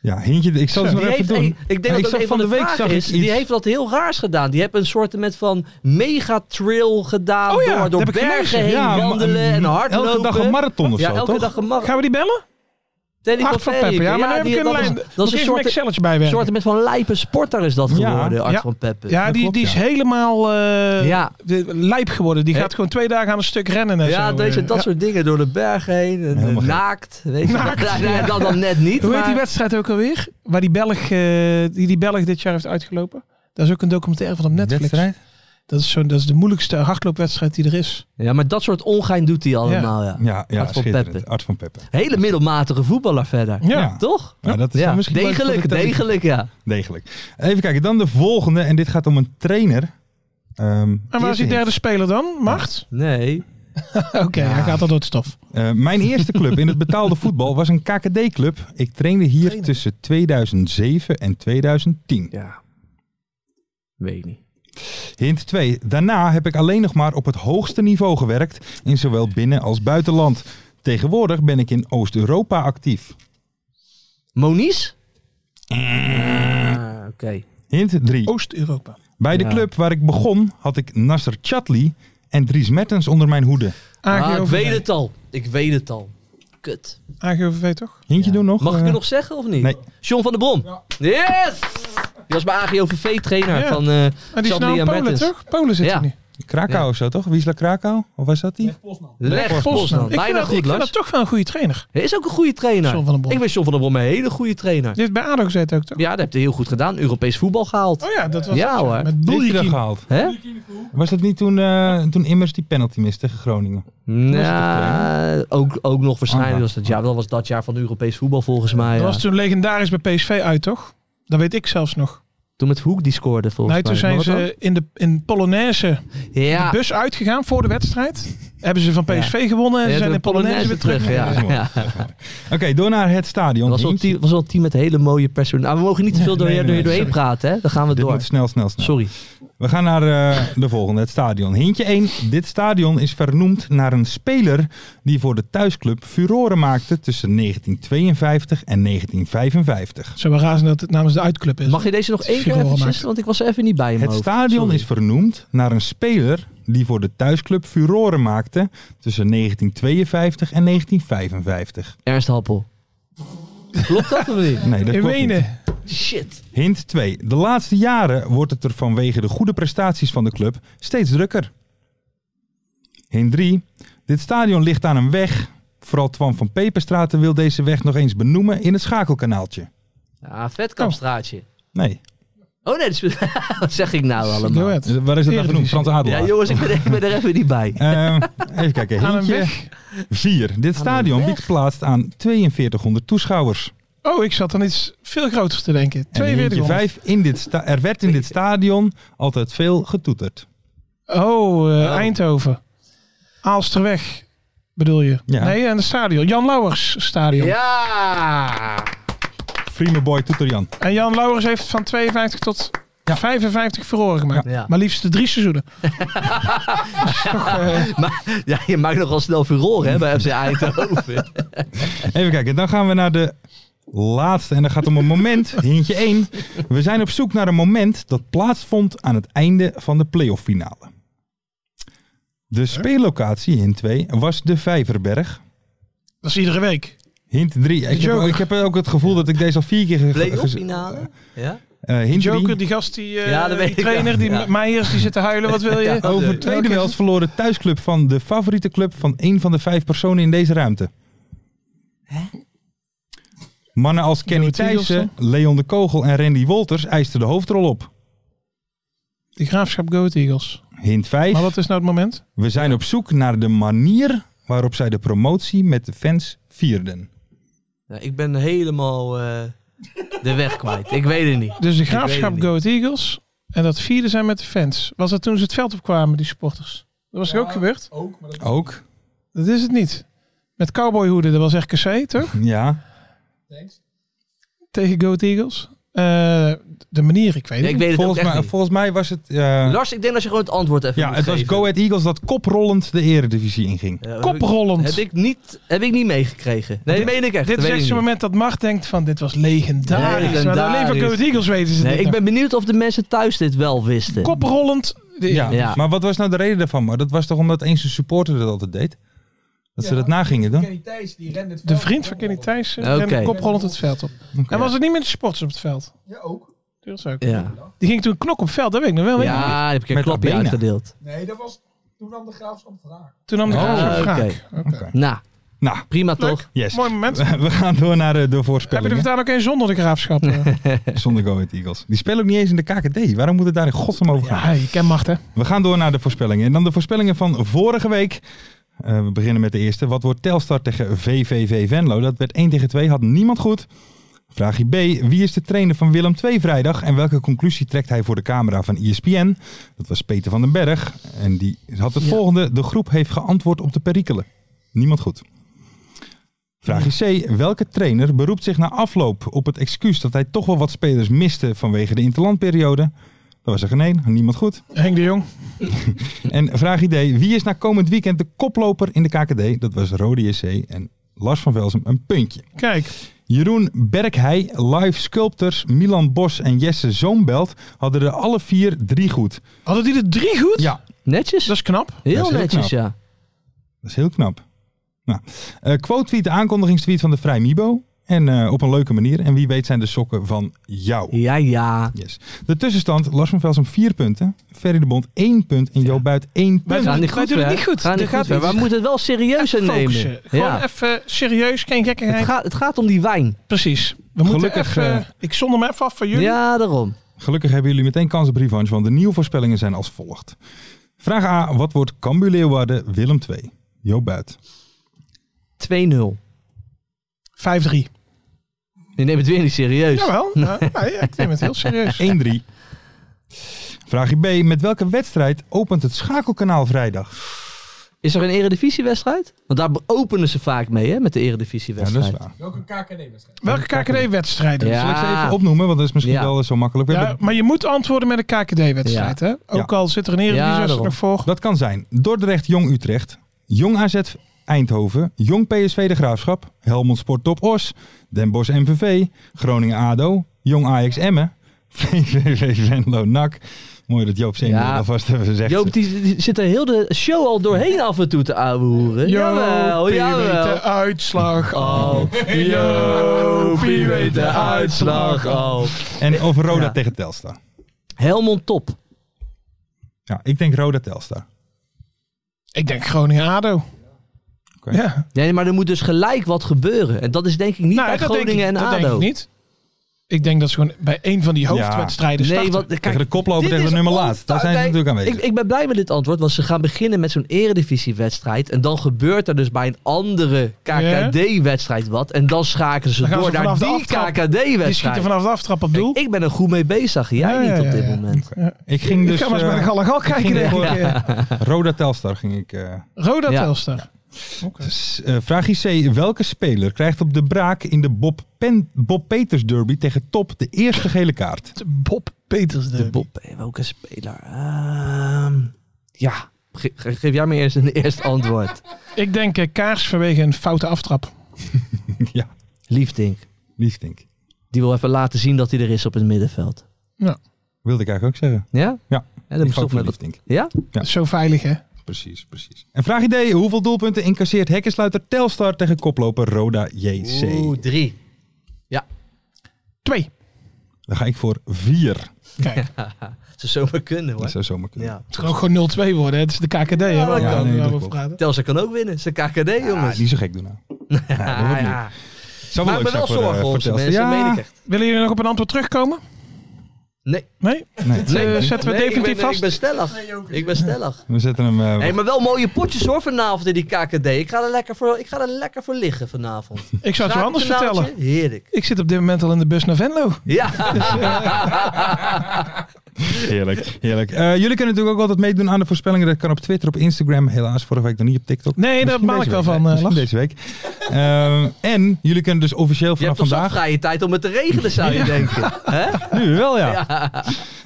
Speaker 5: Ja, hintje. Ik zal het
Speaker 6: Die
Speaker 5: nog even
Speaker 6: heeft
Speaker 5: doen.
Speaker 6: een- ik denk
Speaker 5: ik
Speaker 6: dat
Speaker 5: zag
Speaker 6: dat een
Speaker 5: van de week
Speaker 6: vragen
Speaker 5: zag ik
Speaker 6: is.
Speaker 5: iets.
Speaker 6: Die heeft dat heel raars gedaan. Die heeft een soort met van megatrail gedaan.
Speaker 7: Oh ja,
Speaker 6: door door
Speaker 7: dat heb ik
Speaker 6: bergen
Speaker 7: gelezen.
Speaker 6: heen
Speaker 5: Ja,
Speaker 6: wandelen en
Speaker 5: maar-
Speaker 6: hardlopen.
Speaker 5: Elke dag een marathon of
Speaker 6: Ja,
Speaker 5: zo,
Speaker 6: elke
Speaker 5: toch?
Speaker 6: dag een marathon.
Speaker 7: Gaan we die bellen?
Speaker 6: Danny
Speaker 7: Hart van Peppen. Ja, maar nu heb ik een lijn.
Speaker 6: Dat is, een
Speaker 7: Moet ik even mijn
Speaker 6: soort,
Speaker 7: Excelletje bijwerken.
Speaker 6: soort met van lijpe sporter is dat
Speaker 5: Ja.
Speaker 6: geworden, Art
Speaker 7: Ja.
Speaker 6: van Peppen.
Speaker 7: Ja,
Speaker 5: Dat
Speaker 7: die,
Speaker 5: klopt,
Speaker 7: die is
Speaker 5: ja.
Speaker 7: helemaal eh,
Speaker 6: Ja.
Speaker 7: de- lijp geworden. Die
Speaker 6: Hè?
Speaker 7: gaat gewoon twee dagen aan een stuk rennen. En
Speaker 6: Ja,
Speaker 7: zo,
Speaker 6: weet je,
Speaker 7: eh,
Speaker 6: dat
Speaker 7: ja.
Speaker 6: soort dingen door de bergen heen. En, eh,
Speaker 5: Helemaal gek.
Speaker 6: naakt. Weet je. Nee, nee, dat dan net niet.
Speaker 7: Hoe heet
Speaker 6: maar-
Speaker 7: die wedstrijd ook alweer? Waar die Belg, eh, die, die Belg dit jaar heeft uitgelopen. Daar is ook een documentaire van op Netflix.
Speaker 5: Wedstrijd?
Speaker 7: Dat, is zo, dat is de moeilijkste hardloopwedstrijd die er is.
Speaker 6: Ja, maar dat soort ongein doet hij allemaal. Ja.
Speaker 5: Ja, ja
Speaker 6: Art van
Speaker 5: schitterend.
Speaker 6: Peppe.
Speaker 5: Art van Peppen.
Speaker 6: Hele middelmatige voetballer verder.
Speaker 7: Ja.
Speaker 6: Toch?
Speaker 5: Maar dat is
Speaker 6: ja.
Speaker 5: dan misschien leuk voor de
Speaker 6: degelijk,
Speaker 5: televisie.
Speaker 6: degelijk, ja.
Speaker 5: Degelijk. Even kijken, dan de volgende. En dit gaat om een trainer. Ehm,
Speaker 7: En waar is
Speaker 5: eerste
Speaker 7: die derde
Speaker 5: hint.
Speaker 7: speler dan? Macht?
Speaker 6: Nee.
Speaker 7: Oké, hij gaat al door het stof.
Speaker 5: Eh, mijn eerste club in het betaalde voetbal was een KKD-club. Ik trainde hier tussen 2007 en 2010.
Speaker 6: Ja. Weet niet.
Speaker 5: Hint 2. Daarna heb ik alleen nog maar op het hoogste niveau gewerkt. In zowel binnen- als buitenland. Tegenwoordig ben ik in Oost-Europa actief.
Speaker 6: Monies? Ah, oké.
Speaker 5: Hint 3.
Speaker 7: Oh. Oost-Europa.
Speaker 5: Bij de
Speaker 6: Ja.
Speaker 5: club waar ik begon had ik Nasser Chatli en Dries Mertens onder mijn hoede.
Speaker 6: Ah, ik
Speaker 7: AGOVV.
Speaker 6: weet het al. Ik weet het al. Kut.
Speaker 7: AGOVV toch?
Speaker 5: Hintje doen nog?
Speaker 6: Mag ik
Speaker 5: Eh,
Speaker 6: het nog zeggen of niet?
Speaker 5: nee.
Speaker 6: John van der Brom. Yes! Die was bij AGOVV trainer
Speaker 7: Ja.
Speaker 6: van eh
Speaker 7: Maar die is
Speaker 6: Chandler
Speaker 7: nou in Polen
Speaker 6: Mertens.
Speaker 7: toch? Polen zit
Speaker 6: Ja.
Speaker 7: hij nu.
Speaker 5: Krakau
Speaker 6: Ja.
Speaker 5: of zo, toch? Wiesla Krakau? Of was dat die?
Speaker 6: Leg Bosman.
Speaker 7: Ik vind,
Speaker 6: Bijna
Speaker 7: dat, ik
Speaker 6: goed,
Speaker 7: vind
Speaker 6: Lars.
Speaker 7: dat toch wel een goede trainer.
Speaker 6: Hij is ook een goede trainer.
Speaker 7: John van den Brom.
Speaker 6: Ik ben John van der Brom een hele goede trainer.
Speaker 7: Die heeft bij ADO gezet ook, toch?
Speaker 6: Ja, dat heb je heel goed gedaan. Europees voetbal gehaald.
Speaker 7: Oh ja, dat was
Speaker 6: Ja,
Speaker 7: het,
Speaker 6: hoor.
Speaker 7: Met
Speaker 5: Die heeft hij dat
Speaker 7: Buljikin.
Speaker 5: gehaald.
Speaker 6: Hè?
Speaker 5: Was dat niet toen, eh, toen Immers die penalty mist tegen Groningen?
Speaker 6: Nou, ook, ook nog waarschijnlijk was dat jaar. Dat was dat jaar van Europees voetbal volgens mij.
Speaker 7: Ah. Dat
Speaker 6: ja.
Speaker 7: was toen legendarisch bij PSV uit, toch? Dat weet ik zelfs nog.
Speaker 6: Toen met Hoek die scoorde volgens
Speaker 7: Nee, toen
Speaker 6: mij.
Speaker 7: zijn
Speaker 6: Maar wat
Speaker 7: ze in de in Polonaise
Speaker 6: dan? Ja.
Speaker 7: de bus uitgegaan voor de wedstrijd. Hebben ze van PSV gewonnen en
Speaker 6: Ah. Ja,
Speaker 7: ze
Speaker 6: toen
Speaker 7: zijn
Speaker 6: de
Speaker 7: in Polonaise weer terug.
Speaker 6: Ja.
Speaker 5: Dat is mooi.
Speaker 6: Ja.
Speaker 5: Oké, door naar het stadion.
Speaker 6: Dat was wel een
Speaker 5: Eentje.
Speaker 6: team, was wel een team met hele mooie personen. Ah, we mogen niet te veel door,
Speaker 5: nee,
Speaker 6: je-
Speaker 5: nee,
Speaker 6: door je
Speaker 5: nee,
Speaker 6: doorheen praten, hè? Dan gaan we
Speaker 5: Dit
Speaker 6: door.
Speaker 5: moet snel, snel, snel.
Speaker 6: Sorry.
Speaker 5: We gaan naar eh, de volgende, het stadion. Hintje 1. Dit stadion is vernoemd naar een speler die voor de thuisclub furoren maakte tussen 1952 en 1955.
Speaker 7: Zo wel razen dat het namens de uitclub is.
Speaker 6: Mag je deze nog één keer
Speaker 7: Figuren
Speaker 6: eventjes?
Speaker 7: maken.
Speaker 6: Want ik was er even niet bij in mijn
Speaker 5: Het
Speaker 6: hoofd.
Speaker 5: stadion
Speaker 6: Sorry.
Speaker 5: is vernoemd naar een speler die voor de thuisclub furoren maakte tussen 1952 en 1955.
Speaker 6: Ernst Happel. Klopt dat of niet?
Speaker 5: Nee, dat
Speaker 7: In
Speaker 5: klopt niet.
Speaker 7: Wenen.
Speaker 6: Shit.
Speaker 5: Hint 2. De laatste jaren wordt het er vanwege de goede prestaties van de club steeds drukker. Hint 3. Dit stadion ligt aan een weg. Vooral Twan van Peperstraten wil deze weg nog eens benoemen in het schakelkanaaltje.
Speaker 6: Ja, vetkampstraatje.
Speaker 5: Nee.
Speaker 6: Oh nee, dat is- wat zeg ik nou
Speaker 7: Doe
Speaker 6: allemaal?
Speaker 7: het.
Speaker 5: Eh, Waar is het nou genoemd? Frans Adelaar.
Speaker 6: Ja, jongens, ik ben, ik ben er even niet bij.
Speaker 5: Eh, even kijken.
Speaker 7: Aan een
Speaker 5: Hintje
Speaker 7: weg.
Speaker 5: 4. Dit stadion
Speaker 6: weg.
Speaker 5: biedt plaats aan 4200 toeschouwers.
Speaker 7: Oh, ik zat aan iets veel groters te denken.
Speaker 5: En hintje
Speaker 7: 4200.
Speaker 5: 5. In dit sta- er werd in dit stadion altijd veel getoeterd.
Speaker 7: Oh, eh,
Speaker 6: Nou.
Speaker 7: Eindhoven. Aalsterweg, bedoel je?
Speaker 5: Ja.
Speaker 7: Nee, aan het stadion. Jan Lauwers stadion.
Speaker 6: Ja!
Speaker 5: Free my boy Toeter Jan.
Speaker 7: En Jan Lauwers heeft van 52 tot
Speaker 5: Ja.
Speaker 7: 55 verloren gemaakt.
Speaker 6: Ja.
Speaker 7: Maar liefst de drie seizoenen.
Speaker 6: Ja, je maakt nogal snel furore hè, bij FC Eindhoven.
Speaker 5: Even kijken, dan gaan we naar de laatste. En dat gaat om een moment, hintje 1. We zijn op zoek naar een moment dat plaatsvond aan het einde van de playoff finale. De speellocatie, hint 2, was de Vijverberg.
Speaker 7: Dat is iedere week.
Speaker 5: Hint 3, ik heb,
Speaker 7: Joker.
Speaker 5: ik heb ook het gevoel dat ik deze al vier keer... ge-
Speaker 6: Play-off
Speaker 5: ge-
Speaker 6: finale? Ja?
Speaker 5: eh, hint
Speaker 7: Joker,
Speaker 5: 3,
Speaker 7: die gast, die, eh,
Speaker 6: Ja, dat weet
Speaker 7: die
Speaker 6: ik,
Speaker 7: trainer,
Speaker 6: ja.
Speaker 7: die
Speaker 6: Ja.
Speaker 7: Meijers, die zit te huilen. Wat wil je?
Speaker 6: Ja.
Speaker 5: over twee
Speaker 7: Welke is
Speaker 5: duels
Speaker 7: het?
Speaker 5: verloren thuisclub van de favoriete club van één van de vijf personen in deze ruimte. Mannen als Kenny
Speaker 7: Doe het hier of
Speaker 5: Thijssen, Leon de Kogel en Randy Wolters eisten de hoofdrol op.
Speaker 7: Die graafschap Goat Eagles.
Speaker 5: Hint 5.
Speaker 7: Maar wat is nou het moment?
Speaker 5: We zijn op zoek naar de manier waarop zij de promotie met de fans vierden.
Speaker 6: Ja, ik ben helemaal eh, de weg kwijt. Ik weet het niet.
Speaker 7: Dus de
Speaker 6: weet het
Speaker 7: graafschap
Speaker 6: niet.
Speaker 7: Goat Eagles. En dat vierde zijn met de fans. Was dat toen ze het veld opkwamen, die supporters? Dat was toch ook gebeurd?
Speaker 5: Ook?
Speaker 7: Dat is het niet. Met cowboyhoeden, dat was RKC, toch?
Speaker 5: Ja.
Speaker 7: Tegen Goat Eagles. Eh, de manier, ik weet het
Speaker 6: Ja, ik
Speaker 7: niet.
Speaker 6: weet het ook
Speaker 5: Volgens
Speaker 6: echt
Speaker 5: mij,
Speaker 6: niet.
Speaker 5: volgens mij was het... eh,
Speaker 6: Lars, ik denk dat je gewoon het antwoord even
Speaker 5: ja,
Speaker 6: moet
Speaker 5: het was
Speaker 6: geven.
Speaker 5: Go Ahead Eagles dat koprollend de eredivisie inging.
Speaker 6: Ja, heb ik-
Speaker 7: Koprollend.
Speaker 6: Heb ik niet, heb ik niet meegekregen. Nee, dat meen ik echt.
Speaker 7: Dit
Speaker 6: dat
Speaker 7: is
Speaker 6: weet
Speaker 7: echt
Speaker 6: ik
Speaker 7: zo'n
Speaker 6: niet.
Speaker 7: moment dat Mart denkt van dit was legendarisch. Maar dan alleen
Speaker 6: Legendarisch.
Speaker 7: van Goat Eagles weten ze
Speaker 6: Nee,
Speaker 7: dit
Speaker 6: ik
Speaker 7: nog.
Speaker 6: ben benieuwd of de mensen thuis dit wel wisten.
Speaker 7: koprollend. De-
Speaker 5: Ja.
Speaker 6: Ja.
Speaker 5: Maar wat was nou de reden daarvan? Maar dat was toch omdat eens een supporter dat altijd deed? Dat ze dat nagingen dan?
Speaker 7: De vriend van Kenny Thijs
Speaker 6: Oké.
Speaker 7: rende koprollend het veld op.
Speaker 5: Oké.
Speaker 7: En was het niet met de sporters op het veld? Ja, ook. ook.
Speaker 6: Ja,
Speaker 7: Die ging toen knok op het veld, dat weet ik nog wel. weet ik nog.
Speaker 6: ja heb ik een
Speaker 5: Met
Speaker 6: klapje
Speaker 5: Abena.
Speaker 6: uitgedeeld.
Speaker 7: Toen nam de
Speaker 5: Oh,
Speaker 7: graafschap
Speaker 6: oké.
Speaker 7: wraak.
Speaker 5: Oké.
Speaker 6: Nou,
Speaker 5: Nou,
Speaker 6: prima
Speaker 7: Leuk.
Speaker 6: toch?
Speaker 5: yes.
Speaker 7: Mooi moment.
Speaker 5: We gaan door naar eh, de
Speaker 7: Heb je er
Speaker 5: voorspellingen.
Speaker 7: vertaal ook een zonder de graafschap? eh?
Speaker 5: Zonder Go Ahead Eagles. Die spelen ook niet eens in de KKD. Waarom moet het daar in godsnaam over gaan?
Speaker 7: ja, je kent macht hè.
Speaker 5: We gaan door naar de voorspellingen. En dan de voorspellingen van vorige week. Eh, we beginnen met de eerste. Wat wordt Telstar tegen VVV Venlo? Dat werd 1 tegen 2, had niemand goed. Vraagje B. Wie is de trainer van Willem II vrijdag? En welke conclusie trekt hij voor de camera van E ESPN? Dat was Peter van den Berg. En die had het
Speaker 6: Ja.
Speaker 5: volgende. De groep heeft geantwoord op de perikelen. Niemand goed. Vraagje C. Welke trainer beroept zich na afloop op het excuus dat hij toch wel wat spelers miste vanwege de interlandperiode? Dat was er geen één. Niemand goed.
Speaker 7: Henk de Jong.
Speaker 5: En vraag idee, wie is na komend weekend de koploper in de KKD? Dat was Rode JC en Lars van Velsen een puntje.
Speaker 7: Kijk,
Speaker 5: Jeroen Berkhei, Live Sculptors, Milan Bos en Jesse Zoombelt hadden er alle vier drie goed.
Speaker 7: hadden die er drie goed?
Speaker 5: Ja,
Speaker 6: Netjes?
Speaker 7: Dat is knap.
Speaker 5: dat
Speaker 6: heel
Speaker 5: is heel
Speaker 6: netjes,
Speaker 5: knap.
Speaker 6: ja.
Speaker 5: dat is heel knap. Nou, eh, quote tweet, de aankondigingstweet van de Vrij Mibo. En eh, op een leuke manier. En wie weet zijn de sokken van jou.
Speaker 6: Ja, ja.
Speaker 5: Yes. De tussenstand, Lars van Velsen 4 punten, Ferry de Bond 1 punt en Joop Buit 1
Speaker 7: Wij
Speaker 5: punt.
Speaker 7: doen-
Speaker 6: Gaat niet
Speaker 7: wij
Speaker 6: goed,
Speaker 7: doen het
Speaker 6: hè?
Speaker 7: niet goed.
Speaker 6: Gaat
Speaker 7: Er
Speaker 6: niet
Speaker 7: gaat
Speaker 6: goed, hè?
Speaker 7: iets-
Speaker 6: We moeten het wel serieus
Speaker 7: Even
Speaker 6: nemen.
Speaker 7: focussen. Gewoon
Speaker 6: Ja.
Speaker 7: even serieus, geen gekkigheid.
Speaker 6: Het, gaat, het gaat om die wijn.
Speaker 7: Precies. We moeten
Speaker 5: Gelukkig,
Speaker 7: even,
Speaker 5: eh,
Speaker 7: ik zonder me even af van jullie.
Speaker 6: Ja, daarom.
Speaker 5: Gelukkig hebben jullie meteen kans op revanche, want de nieuwe voorspellingen zijn als volgt. Vraag A, wat wordt Cambuur Leeuwarden Willem 2? Joop Buit.
Speaker 6: 2-0.
Speaker 7: 5-3.
Speaker 6: Je neemt het weer niet serieus.
Speaker 7: Jawel. Ja, ja, ik neem het heel serieus.
Speaker 5: 1-3. Vraag B, met welke wedstrijd opent het schakelkanaal vrijdag?
Speaker 6: Is er een eredivisiewedstrijd? Want daar openen ze vaak mee, hè, met de
Speaker 5: Ja, dat is
Speaker 6: eredivisiewedstrijd.
Speaker 5: waar.
Speaker 9: Welke KKD-wedstrijd?
Speaker 7: Welke KKD-wedstrijden?
Speaker 6: Ja.
Speaker 5: Zal ik ze even opnoemen, want dat is misschien
Speaker 6: Ah. Ja.
Speaker 5: wel zo makkelijk. We
Speaker 7: Ja,
Speaker 5: hebben-
Speaker 7: maar je moet antwoorden met een KKD-wedstrijd, hè? Ook al zit er een Eredivisie
Speaker 6: daarom.
Speaker 7: nog voor.
Speaker 5: Dat kan zijn Dordrecht Jong Utrecht, Jong AZ Eindhoven, Jong PSV De Graafschap, Helmond Sport Top Os, Den Bosch MVV, Groningen ADO, Jong Ajax Emmen, VVV Venlo NAC. Mooi dat Joop Zeeman
Speaker 6: Ja.
Speaker 5: alvast even gezegd
Speaker 6: Joop, die, die zit er heel de show al doorheen af en toe te ouwehoeren. Jawel,
Speaker 7: Joopie weet de
Speaker 6: jawel.
Speaker 7: uitslag al.
Speaker 6: Oh, Jopie weet de uitslag al.
Speaker 5: En over Roda
Speaker 6: Ja.
Speaker 5: tegen Telstar.
Speaker 6: Helmond top.
Speaker 5: Ja, ik denk Roda Telstar.
Speaker 7: Ik denk Groningen-Ado.
Speaker 5: Oké.
Speaker 7: Ja.
Speaker 6: Ja, nee, maar er moet dus gelijk wat gebeuren. En dat is denk ik niet bij
Speaker 7: Nou, dat denk
Speaker 6: Groningen en
Speaker 7: ik- dat
Speaker 6: ADO.
Speaker 7: denk ik niet. Ik denk dat ze gewoon bij een van die hoofdwedstrijden
Speaker 6: Nee,
Speaker 7: starten.
Speaker 6: want
Speaker 5: Tegen de
Speaker 6: kijk,
Speaker 5: koploper
Speaker 6: dit
Speaker 5: tegen de
Speaker 6: is
Speaker 5: nummer laat. Daar zijn ze
Speaker 6: Nee,
Speaker 5: natuurlijk aanwezig.
Speaker 6: Ik, ik ben blij met dit antwoord, want ze gaan beginnen met zo'n eredivisiewedstrijd. En dan gebeurt er dus bij een andere KKD-wedstrijd wat. En dan schakelen ze
Speaker 7: Dan gaan
Speaker 6: door
Speaker 7: ze
Speaker 6: naar
Speaker 7: vanaf de
Speaker 6: die
Speaker 7: aftrap. Die schieten
Speaker 6: KKD-wedstrijd.
Speaker 7: vanaf de aftrap op doel.
Speaker 6: Ik, ik ben er goed mee bezig, jij
Speaker 7: Ja, ja,
Speaker 6: niet op dit
Speaker 7: ja, ja.
Speaker 6: moment.
Speaker 5: Ik ging
Speaker 7: Ik
Speaker 5: dus
Speaker 7: ga maar eens
Speaker 5: eh,
Speaker 7: bij de Galagal kijken,
Speaker 5: ging
Speaker 7: denk ik.
Speaker 5: voor-
Speaker 7: eh.
Speaker 5: Roda Telstar ging ik. eh,
Speaker 7: Roda
Speaker 6: Ja.
Speaker 7: Telstar. Oké.
Speaker 5: S- eh, vraag IC. Welke speler krijgt op de braak in de Bob, Pen- Bob Peters derby tegen Top de eerste gele kaart?
Speaker 7: De Bob Peters
Speaker 6: De Bob, eh, welke speler? Ehm, ja, Ge- ge- geef jij me eerst een eerste antwoord.
Speaker 7: Ik denk eh, Kaars vanwege een foute aftrap.
Speaker 5: ja,
Speaker 6: Liefdink,
Speaker 5: liefdink.
Speaker 6: die wil even laten zien dat hij er is op het middenveld.
Speaker 5: Wilde ik eigenlijk ook zeggen.
Speaker 6: Ja?
Speaker 5: Ja,
Speaker 6: ja dan
Speaker 5: ik ga ook
Speaker 6: stop
Speaker 5: voor
Speaker 6: met dat.
Speaker 5: liefdink.
Speaker 6: Ja?
Speaker 5: Ja.
Speaker 7: Zo veilig, hè?
Speaker 5: Precies, precies. En vraag idee. Hoeveel doelpunten incasseert hekkensluiter Telstar tegen koploper Roda JC?
Speaker 6: Oeh, drie.
Speaker 7: Twee.
Speaker 5: Dan ga ik voor vier.
Speaker 7: Kijk,
Speaker 6: Dat zou zomaar kunnen
Speaker 5: Dat
Speaker 6: hoor.
Speaker 5: zou zomaar kunnen.
Speaker 6: Ja.
Speaker 7: het kan ook gewoon 0-2 worden. hè. Het is de KKD, hè? waar we-
Speaker 5: ja, nee, dat
Speaker 7: waar we over
Speaker 5: klopt.
Speaker 7: praten.
Speaker 6: Telsa kan ook winnen. Ze KKD jongens.
Speaker 5: Ah, niet zo gek doen nou. Ja, dat wordt niet.
Speaker 6: ja.
Speaker 5: Zou
Speaker 6: Maak
Speaker 5: leuk
Speaker 6: me
Speaker 5: zijn
Speaker 6: wel
Speaker 5: voor, eh,
Speaker 6: zorgen
Speaker 5: voor
Speaker 6: om ze
Speaker 5: Telstar.
Speaker 6: mensen,
Speaker 5: Ja.
Speaker 6: meen ik echt.
Speaker 7: Willen jullie nog op een antwoord terugkomen?
Speaker 6: Nee.
Speaker 7: Nee?
Speaker 5: Nee,
Speaker 7: Eh,
Speaker 6: Nee,
Speaker 7: zetten we
Speaker 6: nee, ik
Speaker 7: definitief
Speaker 6: ben,
Speaker 7: vast?
Speaker 6: Ik ben stellig. ik ben stellig.
Speaker 5: we zetten hem. eh,
Speaker 6: Hey, maar wel mooie potjes hoor vanavond in die KKD. Ik ga er lekker voor, ik ga er lekker voor liggen vanavond.
Speaker 7: Ik zou het je anders
Speaker 6: Schakelkanaaltje,
Speaker 7: vertellen.
Speaker 6: Heerlijk.
Speaker 7: Ik zit op dit moment al in de bus naar Venlo.
Speaker 6: Ja.
Speaker 5: Heerlijk, heerlijk. Eh, jullie kunnen natuurlijk ook altijd meedoen aan de voorspellingen. Dat kan op Twitter, op Instagram. Helaas vorige week nog niet op TikTok.
Speaker 7: Nee, daar
Speaker 5: Misschien
Speaker 7: baal ik
Speaker 5: deze
Speaker 7: wel
Speaker 5: week,
Speaker 7: van,
Speaker 5: hè?
Speaker 7: eh,
Speaker 5: Misschien deze week. Ehm, en jullie kunnen dus officieel
Speaker 6: Je hebt
Speaker 5: vanaf
Speaker 6: toch zo'n
Speaker 5: vandaag...
Speaker 6: vrije tijd om het te regelen, zou je denken. Hè?
Speaker 5: Nu wel, ja.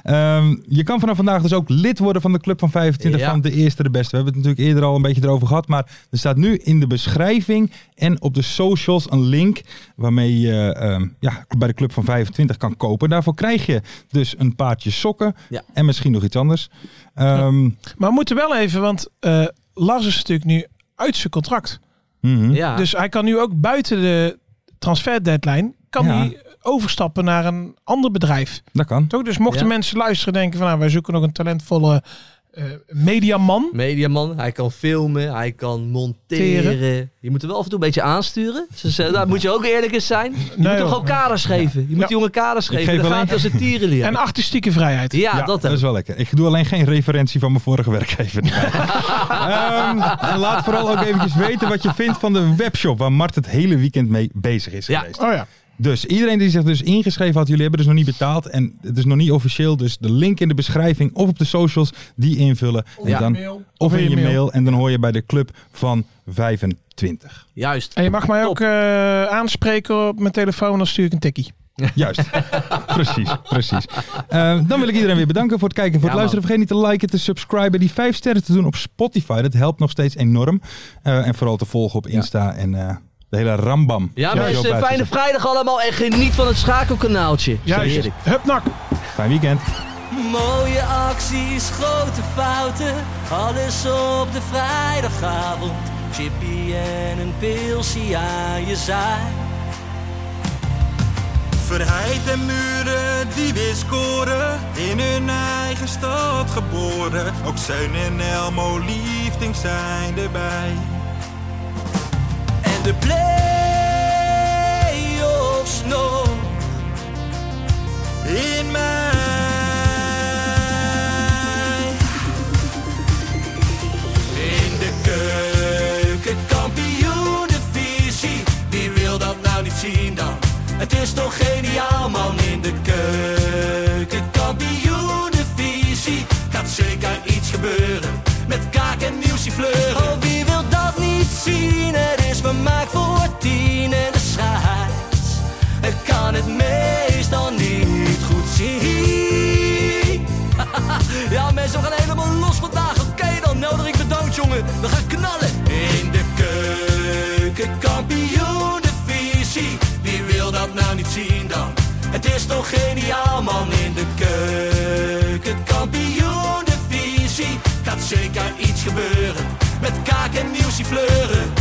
Speaker 5: Ehm, je kan vanaf vandaag dus ook lid worden van de Club van 25
Speaker 6: Ja.
Speaker 5: van de Eerste de Beste. We hebben het natuurlijk eerder al een beetje erover gehad. Maar er staat nu in de beschrijving en op de socials een link... waarmee je ehm, ja, bij de Club van 25 kan kopen. Daarvoor krijg je dus een paardje sokken
Speaker 6: Ja.
Speaker 5: en misschien nog iets anders. Ehm
Speaker 7: Maar we moeten wel even, want eh, Lars is natuurlijk nu uit zijn contract.
Speaker 5: mhm.
Speaker 6: Ja.
Speaker 7: Dus hij kan nu ook buiten de transfer deadline kan
Speaker 5: Ja.
Speaker 7: hij overstappen naar een ander bedrijf.
Speaker 5: Dat kan.
Speaker 7: Toch? Dus
Speaker 6: Ja.
Speaker 7: mochten mensen luisteren en denken van nou, wij zoeken nog een talentvolle eh, mediaman.
Speaker 6: Mediaman, hij kan filmen, hij kan monteren. Je moet er wel af en toe een beetje aansturen. Dus eh, daar moet je ook eerlijk in zijn. Je moet
Speaker 7: hoor.
Speaker 6: toch ook kaders geven. Je moet
Speaker 7: Ja.
Speaker 6: die jongen kaders geven.
Speaker 5: geef
Speaker 6: Dan
Speaker 5: alleen-
Speaker 6: gaat hij als een tierenlier.
Speaker 7: En artistieke vrijheid.
Speaker 6: ja, dat
Speaker 5: is
Speaker 6: hebben
Speaker 5: wel lekker. Ik doe alleen geen referentie van mijn vorige werkgever. Ehm, en laat vooral ook eventjes weten wat je vindt van de webshop waar Mart het hele weekend mee bezig is
Speaker 6: Ja.
Speaker 5: geweest.
Speaker 7: Oh ja.
Speaker 5: Dus iedereen die zich dus ingeschreven had, jullie hebben dus nog niet betaald en het is nog niet officieel. Dus de link in de beschrijving of op de socials die invullen. En
Speaker 6: Ja.
Speaker 5: dan,
Speaker 9: Mail.
Speaker 5: of in je mail en dan hoor je bij de club van 25.
Speaker 6: Juist.
Speaker 7: En je mag mij ook
Speaker 6: Top.
Speaker 7: eh, aanspreken op mijn telefoon, dan stuur ik een tikkie.
Speaker 5: Juist, precies, precies. Eh, dan wil ik iedereen weer bedanken voor het kijken, voor
Speaker 6: Ja,
Speaker 5: het luisteren. Vergeet niet te liken, te subscriben, die vijf sterren te doen op Spotify. Dat helpt nog steeds enorm. Eh, en vooral te volgen op Insta en eh, de hele rambam.
Speaker 6: Ja,
Speaker 5: Zoals je ook
Speaker 6: mensen,
Speaker 5: buiten
Speaker 6: fijne
Speaker 5: zegt.
Speaker 6: vrijdag allemaal en geniet van het schakelkanaaltje.
Speaker 7: Juist.
Speaker 6: Heerlijk.
Speaker 7: Hupnak.
Speaker 5: Fijn weekend.
Speaker 3: Mooie acties, grote fouten, alles op de vrijdagavond. Chippy en een pilsie aan je zaai.
Speaker 4: Verheid en muren die weer scoren, in hun eigen stad geboren. Ook Zijn en Elmo liefding zijn erbij.
Speaker 6: en de play-offs nog in mij. In de keuken, kampioenenvisie, wie wil dat nou niet zien dan? Het is toch geniaal man in de keuken, kampioenenvisie, gaat zeker iets gebeuren. Met kaak en nieuwsie fleuren. Oh, wie wil dat niet zien? Het is vermaakt voor tien en de scheids. Ik kan het meestal niet goed zien. Ja, mensen, we gaan helemaal los vandaag. Oké, dan nodig ik bedankt, jongen. We gaan knallen. In de keuken, kampioen, de visie. Wie wil dat nou niet zien dan? Het is toch geniaal, man. In de keuken, kampioen, de visie. Gaat zeker iets gebeuren. Met kaak en nieuwsie fleuren.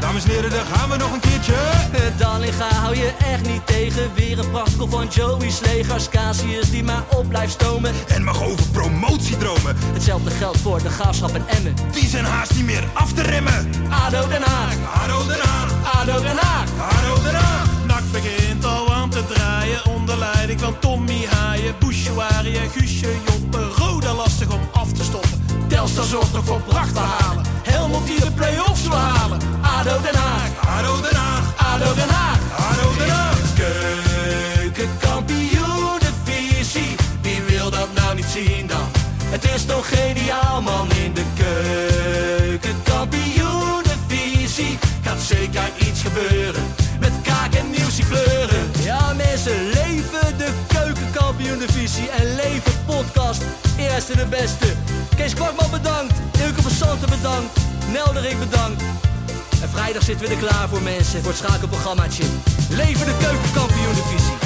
Speaker 4: Dames en heren, daar gaan we nog een keertje.
Speaker 6: Eh, Dallinga hou je echt niet tegen. Weer een prachtkel van Joey's legers. Casius die maar op blijft stomen. Eh,
Speaker 4: En mag over promotiedromen,
Speaker 6: Hetzelfde geldt voor de graafschap en Emmen.
Speaker 4: die zijn haast niet meer af te remmen.
Speaker 6: ADO Den Haag,
Speaker 4: Haro Den Haag,
Speaker 6: ADO Den Haag.
Speaker 4: Haro Den Haag.
Speaker 10: Nak begint al aan te draaien onder leiding van Tommy Haaien, Bouchouari en Guusje Joppen. Roda lastig om af te stoppen.
Speaker 6: Telstar zorgt nog voor pracht te halen. Helmond die de play-offs wil halen. ADO Den Haag,
Speaker 4: Haro Den Haag,
Speaker 6: ADO Den Haag.
Speaker 4: Haro Den Haag.
Speaker 6: Keukenkampioenenvisie, wie wil dat nou niet zien dan? Het is toch geniaal man in de keukenkampioenenvisie. Gaat zeker iets gebeuren, met kaak en nieuwsie kleuren. Ja mensen, leven de keukenkampioenenvisie en leven podcast. Eerste de beste. Kees Kwakman bedankt, Ilke van Santen bedankt, Nelderik bedankt. En vrijdag zitten we er klaar voor mensen, voor het schakelprogrammaatje. Leven de keukenkampioen divisie.